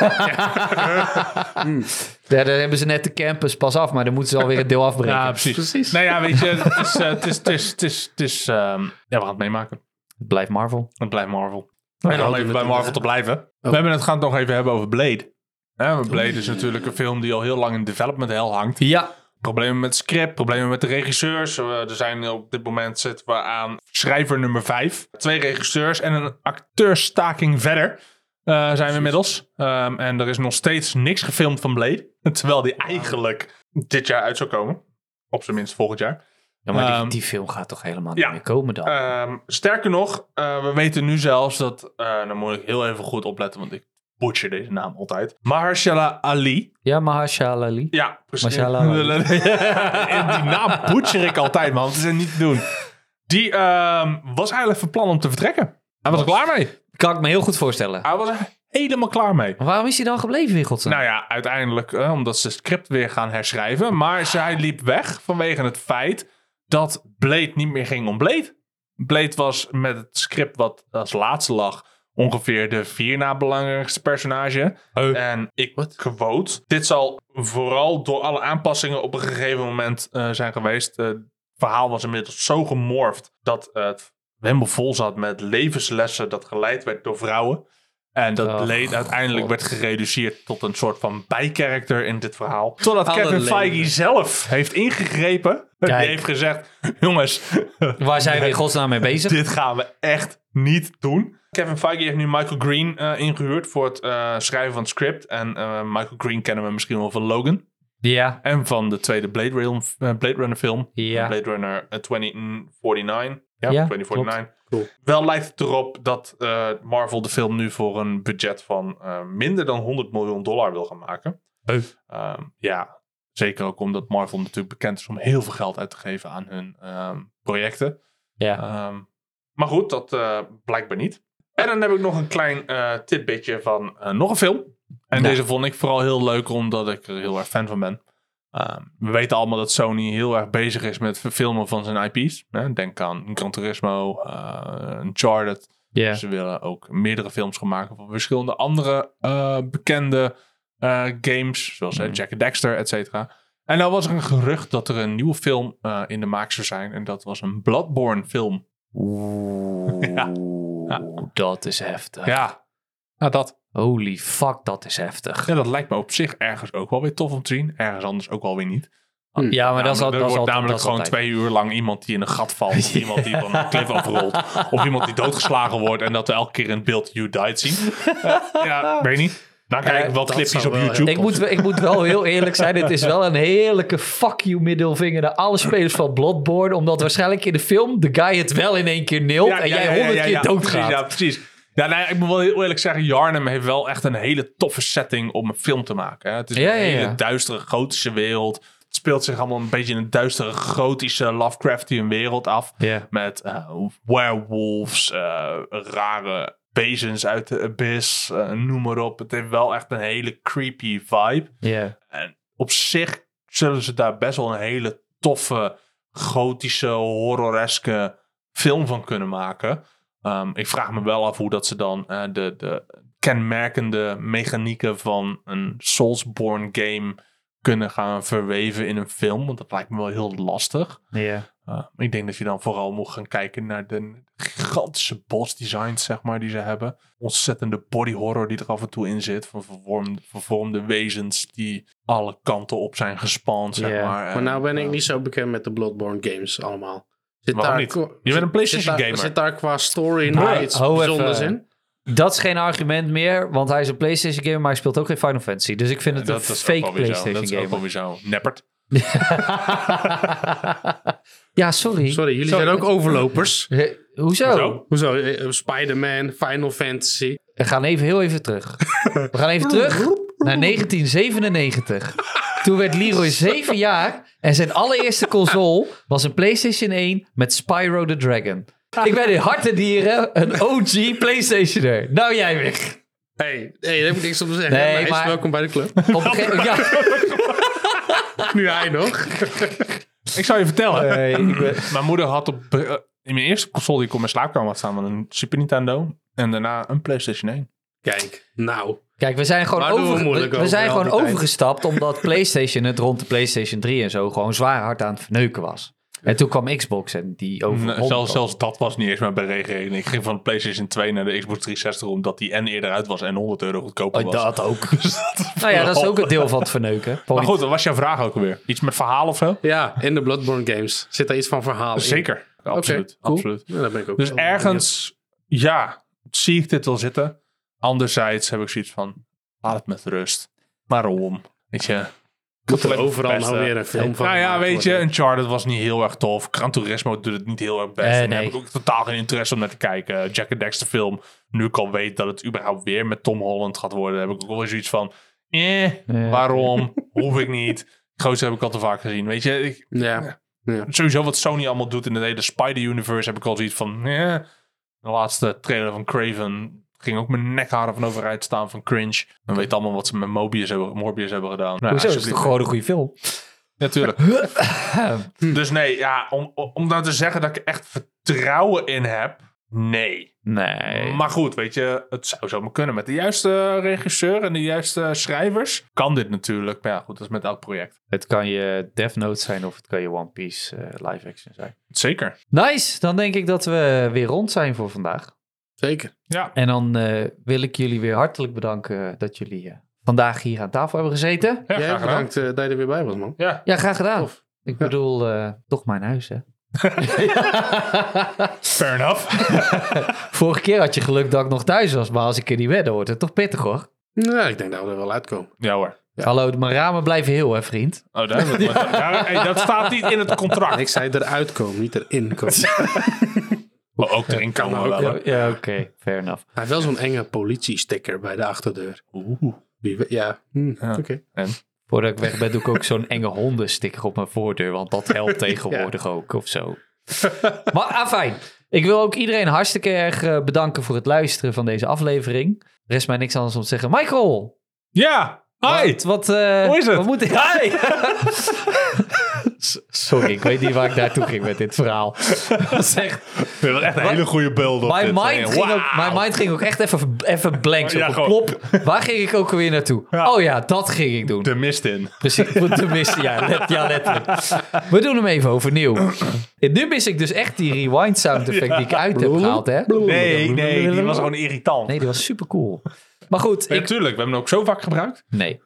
B: daar hebben ze net de campus pas af, maar dan moeten ze alweer een deel afbreken.
D: Precies.
C: Nou ja, weet je, het is... eh, het is, het is, het is, het is ehm, ja, we gaan het meemaken.
B: Blijf Marvel.
C: Het blijft Marvel. En om even
D: we het
C: bij
D: in-
C: Marvel te blijven. We hebben het, gaan het nog even hebben over Blade. Hè, want Blade is natuurlijk een film die al heel lang in development hell hangt.
B: Ja,
C: Problemen met het script, problemen met de regisseurs. Eh, er zijn op dit moment zitten we aan schrijver nummer vijf. Twee regisseurs en een acteurstaking verder eh, zijn we inmiddels. Ehm, en er is nog steeds niks gefilmd van Blade. Terwijl die eigenlijk dit jaar uit zou komen. Op zijn minst volgend jaar.
B: Ja, maar
C: Ehm,
B: die, die film gaat toch helemaal
C: ja.
B: niet meer komen dan?
C: eh, nou Ehm, sterker nog, eh, we weten nu zelfs dat... eh dan moet ik heel even goed opletten, want ik butcher deze naam altijd. Mahershala Ali.
B: Ja, Mahershala Ali.
C: Ja, precies.
B: Mahershala Ali.
C: En die naam butcher ik altijd, man. Het is er niet te doen. Die ehm, was eigenlijk van plan om te vertrekken. Hij was er klaar mee. Ah.
B: Kan ik me heel goed voorstellen.
C: Hij was er helemaal klaar mee.
B: Waarom is hij dan gebleven in godsnaam?
C: Nou ja, uiteindelijk eh, omdat ze het script weer gaan herschrijven. Maar zij liep weg vanwege het feit dat Blade niet meer ging om Blade. Blade was met het script wat als laatste lag ongeveer de vier na belangrijkste personage. En ik quote, dit zal vooral door alle aanpassingen op een gegeven moment eh, zijn geweest. Eh, het verhaal was inmiddels zo gemorfd dat eh, het helemaal vol zat met levenslessen dat geleid werd door vrouwen. En dat
B: Oh,
C: Blade uiteindelijk
B: God.
C: werd gereduceerd tot een soort van bijkarakter in dit verhaal. Totdat
B: Alle
C: Kevin
B: leven.
C: Feige zelf heeft ingegrepen. en
B: Kijk.
C: Die heeft gezegd, jongens,
B: Waar zijn we in godsnaam mee bezig?
C: dit gaan we echt niet doen. Kevin Feige heeft nu Michael Green eh, ingehuurd voor het eh, schrijven van het script. En eh, Michael Green kennen we misschien wel van Logan.
B: Ja,
C: En van de tweede Blade, Realm, eh, Blade Runner film.
B: Ja.
C: Blade Runner eh, 2049. Ja,
B: Ja,
C: 2049.
D: Cool.
C: Wel lijkt het erop dat eh, Marvel de film nu voor een budget van eh, minder dan 100 miljoen dollar wil gaan maken.
B: Heu.
C: Ehm, ja, zeker ook omdat Marvel natuurlijk bekend is om heel veel geld uit te geven aan hun ehm, projecten.
B: ja.
C: Ehm, maar goed, dat eh, blijkbaar niet. En dan heb ik nog een klein eh tidbitje van eh, nog een film. En
B: Ja.
C: deze vond ik vooral heel leuk, omdat ik er heel erg fan van ben. Ehm, we weten allemaal dat Sony heel erg bezig is met verfilmen van zijn IP's. Hè? Denk aan Gran Turismo, eh Uncharted.
B: ja.
C: Ze willen ook meerdere films gaan maken van verschillende andere eh, bekende eh, games. Zoals
B: Mhm.
C: eh, Jack and Dexter, et cetera. En nou was er een gerucht dat er een nieuwe film eh, in de maak zou zijn. En dat was een Bloodborne film.
B: Oeh, dat is heftig.
C: Ja. Nou, dat.
B: Holy fuck, dat is heftig.
C: Ja, dat lijkt me op zich ergens ook wel weer tof om te zien. Ergens anders ook wel weer niet.
B: Ja, maar dat is al- dat
C: Namelijk-
B: is
C: er wordt
B: al-
C: namelijk
B: dat is
C: gewoon
B: altijd.
C: twee uur lang iemand die in een gat valt. Of iemand die van een klif afrolt. Of iemand die doodgeslagen wordt. En dat we elke keer in het beeld You Died zien. Eh, ja, weet je niet. Dan kijk ik wel
D: dat
C: clipjes
D: zou
C: op
D: wel
C: YouTube.
B: Ik moet, ik moet wel heel eerlijk zijn, het is wel een heerlijke fuck you middelvinger naar alle spelers van Bloodborne. Omdat waarschijnlijk in de film de guy het wel in één keer neelt en jij honderd keer doodgaat.
C: Precies, ja, precies. Ja, nou ja, ik moet wel heel eerlijk zeggen, Jarnum heeft wel echt een hele toffe setting om een film te maken. Hè. Het is
B: Ja,
C: een
B: ja, ja.
C: hele duistere gotische wereld. Het speelt zich allemaal een beetje in een duistere gotische Lovecraftian wereld af.
B: Ja.
C: Met eh, werewolves, eh, rare wezens uit de abyss, eh, noem maar op. Het heeft wel echt een hele creepy vibe.
B: Ja.
C: En op zich zullen ze daar best wel een hele toffe, gotische, horroreske film van kunnen maken. Ehm, ik vraag me wel af hoe dat ze dan eh, de, de kenmerkende mechanieken van een Soulsborne game kunnen gaan verweven in een film. Want dat lijkt me wel heel lastig.
B: Ja.
C: Eh, ik denk dat je dan vooral moet gaan kijken naar de gigantische boss designs, zeg maar, die ze hebben. Ontzettende body horror die er af en toe in zit. Van vervormde, vervormde wezens die alle kanten op zijn gespand, zeg
B: Ja.
C: maar.
D: Maar nou ben ik
C: eh,
D: niet zo bekend met de Bloodborne games allemaal. Zit
C: Waarom
D: daar
C: niet?
D: qua-
C: Je bent een
D: zit-
C: PlayStation
D: zit daar-
C: gamer.
D: Zit daar qua story
B: Maar,
D: nou iets
B: hou even.
D: bijzonders in?
B: Dat is geen argument meer, want hij is een PlayStation gamer, maar hij speelt ook geen Final Fantasy. Dus ik vind het
C: dat,
B: een
C: dat is ook
B: fake
C: wel weer zo. Dat
B: PlayStation
C: is ook wel
B: gamer.
C: weer zo. Neppert.
B: ja, sorry.
D: Sorry, jullie zijn ook overlopers.
B: Hé, Hoezo?
C: Zo.
D: Hoezo? Eh, eh, Spider-Man, Final Fantasy.
B: We gaan even heel even terug. We gaan even terug naar 1997. Toen werd Leroy 7 jaar en zijn allereerste console was een PlayStation 1 met Spyro the Dragon. Ik ben in harte dieren een OG PlayStationer. Nou jij weg.
D: Hey, hey, daar heb ik niks om te zeggen.
B: Nee,
D: maar hij is
B: maar-
D: welkom bij de club.
B: Op een gegeven- ja.
D: nu hij nog.
C: Ik zou je vertellen.
B: Nee, ik ben-
C: Mijn moeder had op... eh, in mijn eerste console die ik op mijn slaapkamer had staan... was een Super Nintendo. En daarna een PlayStation 1.
D: Kijk, nou.
B: Kijk, we zijn gewoon,
D: Waar doen we
B: over, we
D: moeilijk over
B: zijn gewoon
D: altijd?
B: overgestapt omdat PlayStation het rond de PlayStation 3 en zo gewoon zwaar hard aan het verneuken was. En toen kwam Xbox en die over.
C: Nee, zelfs, zelfs dat was niet eens mijn berekening. Ik ging van de PlayStation 2 naar de Xbox 360 omdat die en eerder uit was en 100 euro
D: Oh,
C: goedkoper was.
B: Oh, dat ook. nou ja, dat is ook een deel van het verneuken.
C: Maar
B: Point.
C: goed, dat was jouw vraag ook weer. Iets met verhaal of zo?
D: Ja, in de Bloodborne games. Zit daar iets van verhaal in?
C: Zeker.
D: Oké,
C: Absoluut.
D: cool.
C: absoluut.
D: Ja, daar ben ik ook
C: Dus
D: wel
C: ergens, ja, zie ik dit wel zitten. Anderzijds heb ik zoiets van, laat het met rust. Waarom? Weet je,
D: benieuwd. Moet er
C: alleen
D: overal
C: best,
D: nou
C: eh,
D: weer een film van
C: nou ja,
D: gemaakt
C: weet je,
D: worden.
C: Uncharted was niet heel erg tof. Gran Turismo doet het niet heel erg best.
B: Eh,
C: En Daar
B: nee.
C: heb ik ook totaal geen interesse om naar te kijken. Jack and Dexter film nu ik al weet dat het überhaupt weer met Tom Holland gaat worden, heb ik ook wel eens zoiets van, eh,
B: Ja.
C: waarom? Hoef ik niet. Gozer heb ik al te vaak gezien. Weet je, ik,
D: Ja.
C: sowieso wat Sony allemaal doet in het hele Spider-Universe heb ik al zoiets van... Eh. De laatste trailer van Craven ging ook mijn nekharen van overheid staan van cringe. We weten allemaal wat ze met Mobius hebben, Morbius hebben gedaan. Nou,
B: Hoezo? Dat is
C: alsjeblieft.
B: toch gewoon een goede film?
C: Natuurlijk. dus nee, ja, om, om nou te zeggen dat ik echt vertrouwen in heb, nee.
B: Nee.
C: Maar goed, weet je, het zou zomaar kunnen. Met de juiste regisseur en de juiste schrijvers kan dit natuurlijk. Maar ja, goed, dat is met elk project.
B: Het kan je Death Note zijn of het kan je One Piece eh, live action zijn.
C: Zeker.
B: Nice, dan denk ik dat we weer rond zijn voor vandaag.
D: Zeker.
C: Ja.
B: En dan eh, wil ik jullie weer hartelijk bedanken dat jullie eh, vandaag hier aan tafel hebben gezeten.
C: Ja,
D: Jij
C: graag gedaan.
D: bedankt eh, dat je er weer bij was, man.
C: Ja.
B: Ja, graag gedaan.
D: Tof.
B: Ik bedoel, eh, toch mijn huis, hè?
C: Fair enough.
B: Vorige keer had je geluk dat ik nog thuis was, maar als ik er niet ben, dan wordt het toch pittig, hoor.
D: Nou, ik denk dat we er wel uitkomen.
C: ja hoor.
B: Hallo, mijn ramen blijven heel, hè, vriend?
C: Oh, daar hebben we het. Daar- hey, dat staat niet in het contract.
D: Ik zei eruit komen, niet erin komen.
C: Maar ook erin komen we wel.
B: Ja,
C: hè.
B: oké. Fair enough.
D: Hij heeft wel zo'n enge politiesticker bij de achterdeur.
C: Oeh.
D: Wie we- ja, hm,
C: Ja.
D: oké.
B: Voordat ik weg ben, doe ik ook zo'n enge hondensticker op mijn voordeur. Want dat helpt tegenwoordig ook of zo. maar afijn. Ik wil ook iedereen hartstikke erg eh, bedanken voor het luisteren van deze aflevering. Er is mij niks anders om te zeggen. Michael!
C: Ja. Hi.
B: Wat, wat, eh,
C: Hoe is het?
B: Wat moet ik... Hi! S- Sorry, ik weet niet waar ik naartoe ging met dit verhaal. Dat is echt-
C: We hebben echt een hele goede beeld op
B: Mijn
C: dit.
B: mind,
C: Eh,
B: ging ook,
C: wauw.
B: mijn mind ging ook echt even, even blank. Zo
C: Ja,
B: van,
C: gewoon.
B: plop, waar ging ik ook weer naartoe?
C: Ja.
B: Oh ja, dat ging ik doen.
C: De mist in.
B: Precies, want Dus de mist, ja, let- ja, letterlijk. We doen hem even overnieuw. En nu mis ik dus echt die rewind sound effect die ik uit heb gehaald, hè?
C: Nee, nee, die was gewoon irritant.
B: Nee, die was super cool. Maar goed, ik...
C: Natuurlijk, we hebben hem ook zo vaak gebruikt.
B: Nee.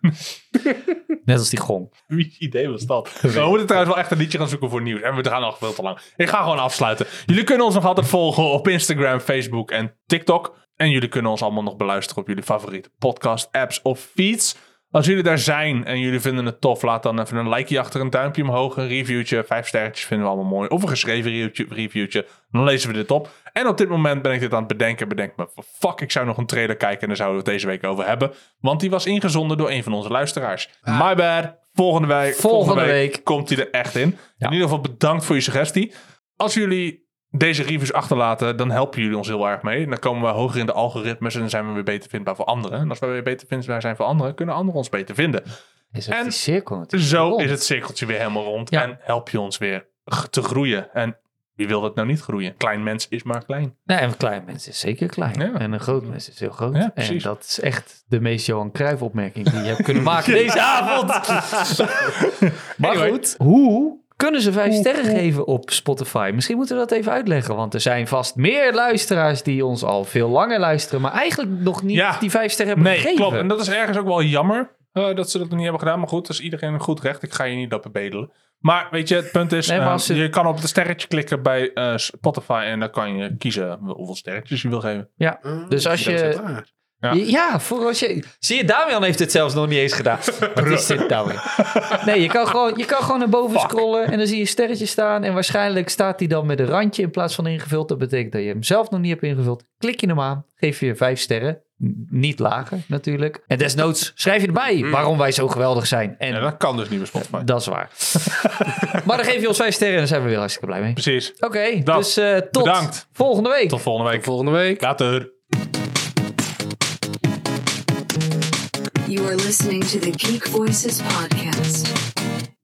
B: Net als die gong.
C: Wie idee was dat? We moeten trouwens wel echt een liedje gaan zoeken voor nieuws. En we gaan nog veel te lang. Ik ga gewoon afsluiten. Jullie kunnen ons nog altijd volgen op Instagram, Facebook en TikTok. En jullie kunnen ons allemaal nog beluisteren op jullie favoriete podcast, apps of feeds. Als jullie daar zijn en jullie vinden het tof, laat dan even een likeje achter, een duimpje omhoog, een reviewtje. Vijf sterretjes vinden we allemaal mooi. Of een geschreven reviewtje, reviewtje. Dan lezen we dit op. En op dit moment ben ik dit aan het bedenken. Bedenk me, fuck, ik zou nog een trailer kijken en daar zouden we het deze week over hebben. Want die was ingezonden door een van onze luisteraars. My bad. Volgende week,
B: Volgende week.
C: komt hij er echt in. In ieder geval bedankt voor je suggestie. Als jullie deze reviews achterlaten, dan helpen jullie ons heel erg mee. Dan komen we hoger in de algoritmes en dan zijn we weer beter vindbaar voor anderen. En als wij weer beter vindbaar zijn voor anderen, kunnen anderen ons beter vinden.
B: Is het
C: En
B: die cirkel natuurlijk.
C: Zo
B: rond.
C: is het cirkeltje weer helemaal rond.
B: Ja.
C: En help je ons weer g- te groeien. En wie wil dat nou niet groeien? Klein mens is maar klein.
B: Nee, en een klein mens is zeker klein.
C: Ja.
B: En een groot mens is heel groot.
C: Ja,
B: en
C: precies.
B: dat is echt de meest Johan Cruijff opmerking die je hebt kunnen maken deze avond. maar
C: Anyway.
B: goed, hoe kunnen ze vijf sterren geven op Spotify? Misschien moeten we dat even uitleggen. Want er zijn vast meer luisteraars die ons al veel langer luisteren. Maar eigenlijk nog niet
C: Ja.
B: die vijf sterren hebben
C: Nee,
B: gegeven.
C: klopt. En dat is ergens ook wel jammer eh, dat ze dat nog niet hebben gedaan. Maar goed, dat is iedereen een goed recht. Ik ga je niet dat bedelen. Maar weet je, het punt is,
B: Nee, maar
C: eh,
B: als ze-
C: je kan op het sterretje klikken bij eh, Spotify en dan kan je kiezen hoeveel sterretjes je wil geven.
B: Ja, dus als
D: Ah, Dat
B: je...
D: is waar.
C: waar. Ja.
B: Ja, voor als je... Zie je, Damian heeft het zelfs nog niet eens gedaan. Wat is dit nou weer? Nee, je kan, gewoon, je kan gewoon naar boven scrollen en dan zie je een sterretje staan. En waarschijnlijk staat die dan met een randje in plaats van ingevuld. Dat betekent dat je hem zelf nog niet hebt ingevuld. Klik je hem aan, geef je vijf sterren. N- Niet lager natuurlijk. En desnoods schrijf je erbij waarom wij zo geweldig zijn. En
C: Mm. Ja, dat kan dus niet bij Spotify.
B: dat is waar. maar dan geef je ons vijf sterren en dan zijn we weer hartstikke blij mee.
C: Precies.
B: Oké,
C: Dat.
B: dus eh, tot
C: Bedankt.
B: volgende week.
C: Tot volgende week.
D: Volgende week.
C: Later.
A: You are listening to the Geek Voices Podcast.